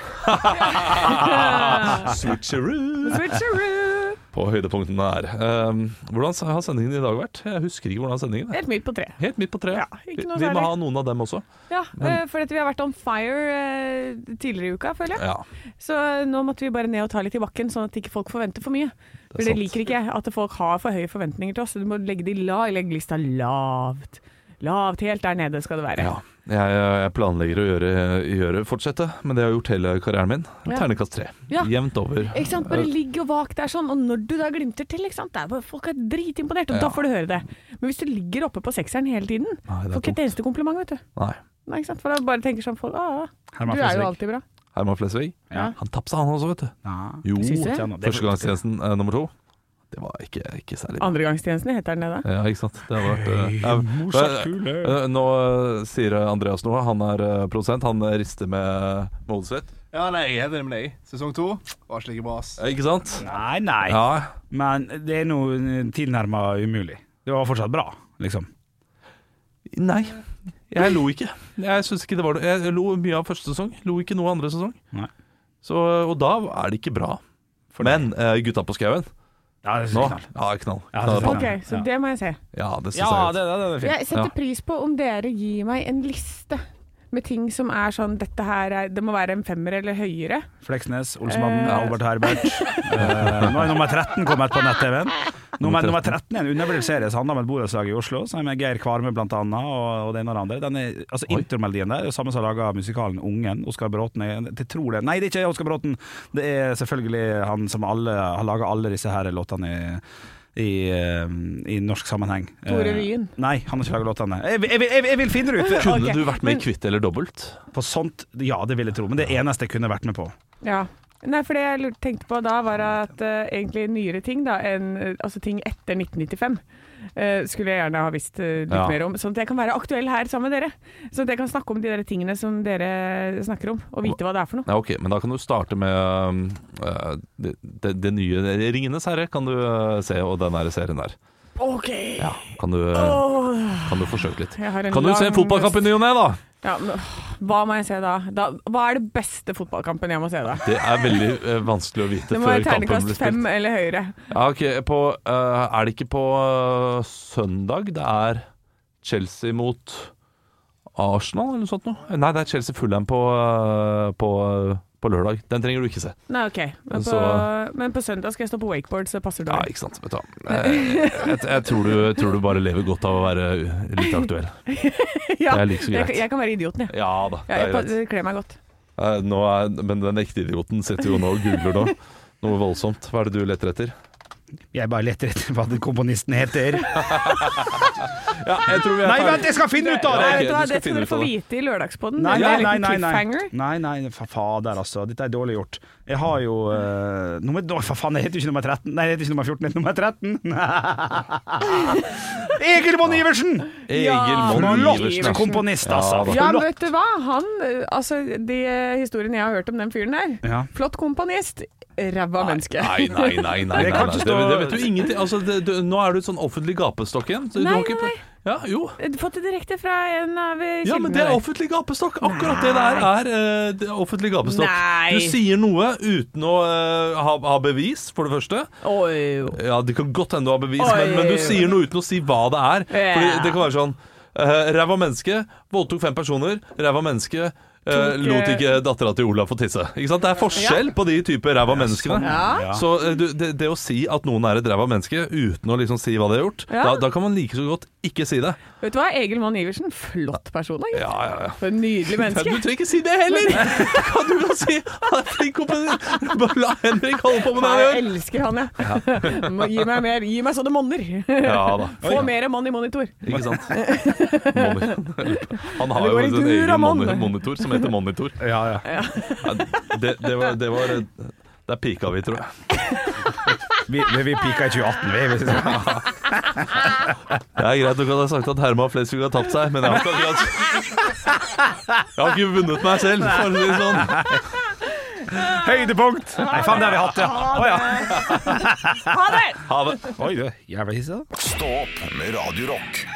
Speaker 3: Switcheroo.
Speaker 5: Switcheroo!
Speaker 3: På høydepunktene der. Ehm, hvordan har sendingen i dag vært? Jeg husker ikke hvordan sendingen er.
Speaker 5: Helt midt på tre.
Speaker 3: Helt midt på treet.
Speaker 5: Ja, ikke noe
Speaker 3: vi, vi må
Speaker 5: særlig.
Speaker 3: ha noen av dem også.
Speaker 5: Ja, eh, for at vi har vært on fire eh, tidligere i uka, føler jeg.
Speaker 3: Ja.
Speaker 5: Så nå måtte vi bare ned og ta litt i bakken, sånn at ikke folk forventer for mye. For det
Speaker 3: sant.
Speaker 5: liker ikke jeg, at folk har for høye forventninger til oss. Så du må legge, de la, legge lista lavt. Lavt, helt der nede skal det være.
Speaker 3: ja. Jeg, jeg planlegger å gjøre, gjøre fortsette med det jeg har gjort hele karrieren min.
Speaker 5: Ja.
Speaker 3: Ternekast tre.
Speaker 5: Ja.
Speaker 3: Jevnt over.
Speaker 5: Ikke sant? Bare ligg og vak der sånn, og når du da glimter til, ikke sant? Det er bare, folk er dritimponert, og
Speaker 3: Ja.
Speaker 5: da får du høre det. Men hvis du ligger oppe på sekseren hele tiden,
Speaker 3: Nei, det er
Speaker 5: får ikke
Speaker 3: dumt.
Speaker 5: et eneste kompliment, vet du.
Speaker 3: Nei.
Speaker 5: Nei, ikke sant? For da bare tenker sånn folk, ah, du
Speaker 4: Herman
Speaker 5: er jo
Speaker 4: Flesvig.
Speaker 5: alltid bra.
Speaker 3: Herman Flesvig.
Speaker 4: Ja.
Speaker 3: Han tapte, han også, vet du.
Speaker 4: Nei.
Speaker 3: Jo.
Speaker 5: Syns du?
Speaker 4: Tjena, det er
Speaker 3: Førstegangstjenesten eh, nummer to. Det var ikke, ikke særlig bra.
Speaker 5: Andregangstjenesten heter den nede.
Speaker 3: Ja, ikke sant. Det hadde vært eh,
Speaker 4: Hei,
Speaker 3: eh,
Speaker 4: Mozart
Speaker 3: eh,
Speaker 4: kule.
Speaker 3: eh, Nå eh, sier Andreas noe. Han er eh, produsent. Han eh, rister med med hodet sitt.
Speaker 7: Ja, nei, jeg er helt enig med deg. Sesong to var ikke like bra. ass.
Speaker 3: Eh, Ikke sant?
Speaker 4: Nei, nei.
Speaker 3: Ja.
Speaker 4: Men det er nå tilnærma umulig. Det var fortsatt bra, liksom.
Speaker 3: Nei, jeg lo ikke. Jeg synes ikke det var noe Jeg lo mye av første sesong, lo ikke noe av andre sesong.
Speaker 4: Nei.
Speaker 3: Så, og da er det ikke bra. Men eh, Gutta på skauen
Speaker 4: Ja, det
Speaker 3: nå
Speaker 4: synes jeg.
Speaker 3: Ja, knall.
Speaker 4: Ja,
Speaker 3: knall.
Speaker 4: det synes jeg.
Speaker 5: Ok, så
Speaker 4: Ja.
Speaker 5: det må jeg se.
Speaker 3: Ja, det syns
Speaker 4: Ja,
Speaker 3: jeg.
Speaker 4: det, det, det er fint.
Speaker 5: Jeg setter
Speaker 3: Ja.
Speaker 5: pris på om dere gir meg en liste med ting som er sånn Dette her er, det må være en femmer eller høyere.
Speaker 4: Fleksnes, Olsmannen,
Speaker 5: Eh.
Speaker 4: Albert Herbert. Eh, nå er nummer 13 kommet på nett-TV-en. Nummer, nummer 13 er en undervurdert serie som handler om et borettslag i Oslo, som er med Geir Kvarme blant annet, og, og det ene og det andre. Den er, altså
Speaker 3: Oi.
Speaker 4: Intromelodien der er jo samme som laga musikalen Ungen. Oskar Bråten er jeg tror det. Nei, det er ikke Oskar Bråten! Det er selvfølgelig han som alle, har laga alle disse her låtene i, i, eh, i norsk sammenheng.
Speaker 5: Tore
Speaker 4: Eh,
Speaker 5: Ryen.
Speaker 4: Nei, han har ikke laga låtene. Jeg, vil- jeg, vil- jeg, vil- jeg vil finne det ut!
Speaker 3: Kunne
Speaker 5: Ok,
Speaker 3: du vært med
Speaker 5: men-
Speaker 3: i Kvitt eller dobbelt?
Speaker 4: På sånt, ja, det vil jeg tro. Men det eneste jeg kunne vært med på.
Speaker 5: Ja. Nei, for det jeg lurte- tenkte på da, var at eh, egentlig nyere ting, da, enn, eh, altså ting etter 1995, eh, skulle jeg gjerne ha visst eh, litt
Speaker 4: Ja.
Speaker 5: mer om. Sånn at jeg kan være aktuell her sammen med dere. Sånn at jeg kan snakke om de der tingene som dere snakker om, og vite hva det er for noe.
Speaker 3: Nei, ok, men da kan du starte med um, eh, det, det, det nye Ringenes herre, kan du eh, se, og den der serien der.
Speaker 5: OK!
Speaker 3: Ja, kan du, eh, kan du forsøke litt.
Speaker 5: Jeg har en
Speaker 3: Kan du se
Speaker 5: lang
Speaker 3: en fotballkamp i ny og ne, da?
Speaker 5: Ja, men, hva må jeg se da? da? Hva er det beste fotballkampen jeg må se da?
Speaker 3: Det er veldig eh, vanskelig å vite
Speaker 5: Det må være
Speaker 3: før kampen
Speaker 5: terningkast
Speaker 3: blir
Speaker 5: fem
Speaker 3: spilt.
Speaker 5: eller høyere.
Speaker 3: Ja, ok, på, eh, er det ikke på eh, søndag det er Chelsea mot Arsenal eller noe sånt noe? Nei, det er Chelsea Fulham på, eh, på, eh, på lørdag. Den trenger du ikke se.
Speaker 5: Nei, ok. Men
Speaker 3: Altså-
Speaker 5: på,
Speaker 3: Så-
Speaker 5: men på søndag skal jeg stå på wakeboard, så passer det.
Speaker 3: Ja, ikke sant. Vet du. hva. Eh, Jeg, jeg tror, du, tror du bare lever godt av å være litt aktuell.
Speaker 5: Ja,
Speaker 3: det er like så
Speaker 5: jeg,
Speaker 3: greit.
Speaker 5: jeg kan være idioten, jeg.
Speaker 3: Ja da,
Speaker 5: Ja,
Speaker 3: det er
Speaker 5: jeg,
Speaker 3: greit.
Speaker 5: det kler meg godt.
Speaker 3: Eh, Nå er, men den ekte idioten sitter jo nå og googler nå. Noe voldsomt. Hva er det du leter etter?
Speaker 4: Jeg bare leter etter hva den komponisten heter.
Speaker 3: Ja, jeg tror vi er
Speaker 4: Nei,
Speaker 3: ferdig.
Speaker 4: vent, jeg skal finne ut av
Speaker 5: Nei,
Speaker 4: det!
Speaker 3: ok, du skal
Speaker 5: vet du hva, det skal
Speaker 3: finne ut
Speaker 5: dere
Speaker 3: av
Speaker 5: få
Speaker 3: det.
Speaker 5: vite i lørdagspodden.
Speaker 4: Nei,
Speaker 5: det
Speaker 4: nei,
Speaker 5: er en
Speaker 4: nei,
Speaker 5: liten
Speaker 4: nei, nei.
Speaker 5: cliffhanger.
Speaker 4: nei, nei fa fader, altså. Dette er dårlig gjort. Jeg har jo eh, nummer, Å, for faen, jeg heter jo ikke nummer 13. Nei, jeg heter ikke nummer 14, jeg heter nummer 13. Egil Monn Iversen!
Speaker 3: Egil
Speaker 5: Ja,
Speaker 3: Monn
Speaker 5: Flott
Speaker 3: Iversen. ass.
Speaker 4: komponist,
Speaker 3: Ja,
Speaker 4: altså.
Speaker 3: da.
Speaker 5: Ja, men
Speaker 4: Flott.
Speaker 5: vet du hva? Han, eh, altså, de eh, historiene jeg har hørt om den fyren der
Speaker 4: Ja.
Speaker 5: Flott komponist, ræva menneske.
Speaker 3: Nei, nei, nei. nei, nei,
Speaker 4: Det
Speaker 3: nei, nei.
Speaker 4: kan ikke
Speaker 3: Det,
Speaker 4: stå-
Speaker 3: det vet du ingenting altså, det, du, Nå er du et sånn offentlig gapestokk igjen. Så du
Speaker 5: Nei,
Speaker 3: har ikke-
Speaker 5: nei, nei.
Speaker 3: Ja, jo.
Speaker 5: Eh, Fått det direkte fra en av eh, kildene
Speaker 3: Ja, men det er
Speaker 5: der.
Speaker 3: offentlig gapestokk. Akkurat det der er eh, det er offentlig gapestokk.
Speaker 5: Nei.
Speaker 3: Du sier noe uten å eh, ha, ha bevis, for det første.
Speaker 5: Oi, jo.
Speaker 3: Ja, det kan godt hende du har bevis,
Speaker 5: Oi.
Speaker 3: men, men du sier noe uten å si hva det er. Fordi
Speaker 5: Ja.
Speaker 3: det kan være sånn uh, Ræva menneske voldtok fem personer. Ræva menneske eh,
Speaker 5: Tok,
Speaker 3: lot
Speaker 5: eh,
Speaker 3: ikke dattera til Olav få tisse. Ikke sant? Det er forskjell på de typer ræva menneskene.
Speaker 5: Ja.
Speaker 3: Så eh, du, det, det å si at noen er et ræva menneske uten å liksom si hva de har gjort,
Speaker 5: Ja.
Speaker 3: da, da kan man like så godt ikke si det.
Speaker 5: Vet du hva, Egil Mann Iversen, flott person. da, gitt.
Speaker 3: Ja, ja, ja.
Speaker 5: For en nydelig
Speaker 3: Men
Speaker 5: menneske.
Speaker 3: du trenger ikke si det heller! Kan du jo si han er flink komponist! Bare la Henrik holde på med det han
Speaker 5: Jeg
Speaker 3: gjør!
Speaker 5: elsker han, jeg. Må Gi meg mer. Gi meg sånne monner.
Speaker 3: Ja da.
Speaker 5: Få mer mann i monitor.
Speaker 3: Ikke sant? Monitor. Han har
Speaker 5: Det
Speaker 3: jo
Speaker 5: går i
Speaker 3: en
Speaker 5: dur,
Speaker 3: egen
Speaker 5: da, mann.
Speaker 3: moni- monitor som heter Monitor.
Speaker 4: Ja, ja.
Speaker 3: Ja, Det, det, var, det var Der pika vi, tror jeg.
Speaker 4: Vi, vi, vi pika i 2018, vi. vi. synes-
Speaker 3: Det er greit, du kan ha sagt at Herman Flesvig har tapt seg, men jeg har ikke akkurat Jeg har ikke vunnet meg selv, for å si det sånn.
Speaker 4: Høydepunkt! Nei, faen, det har vi hatt, ja. Å ja.
Speaker 5: Ha det!
Speaker 3: Ha det.
Speaker 4: Oi, du. Jævla hissig, da.
Speaker 2: Stå opp med Radio Rock.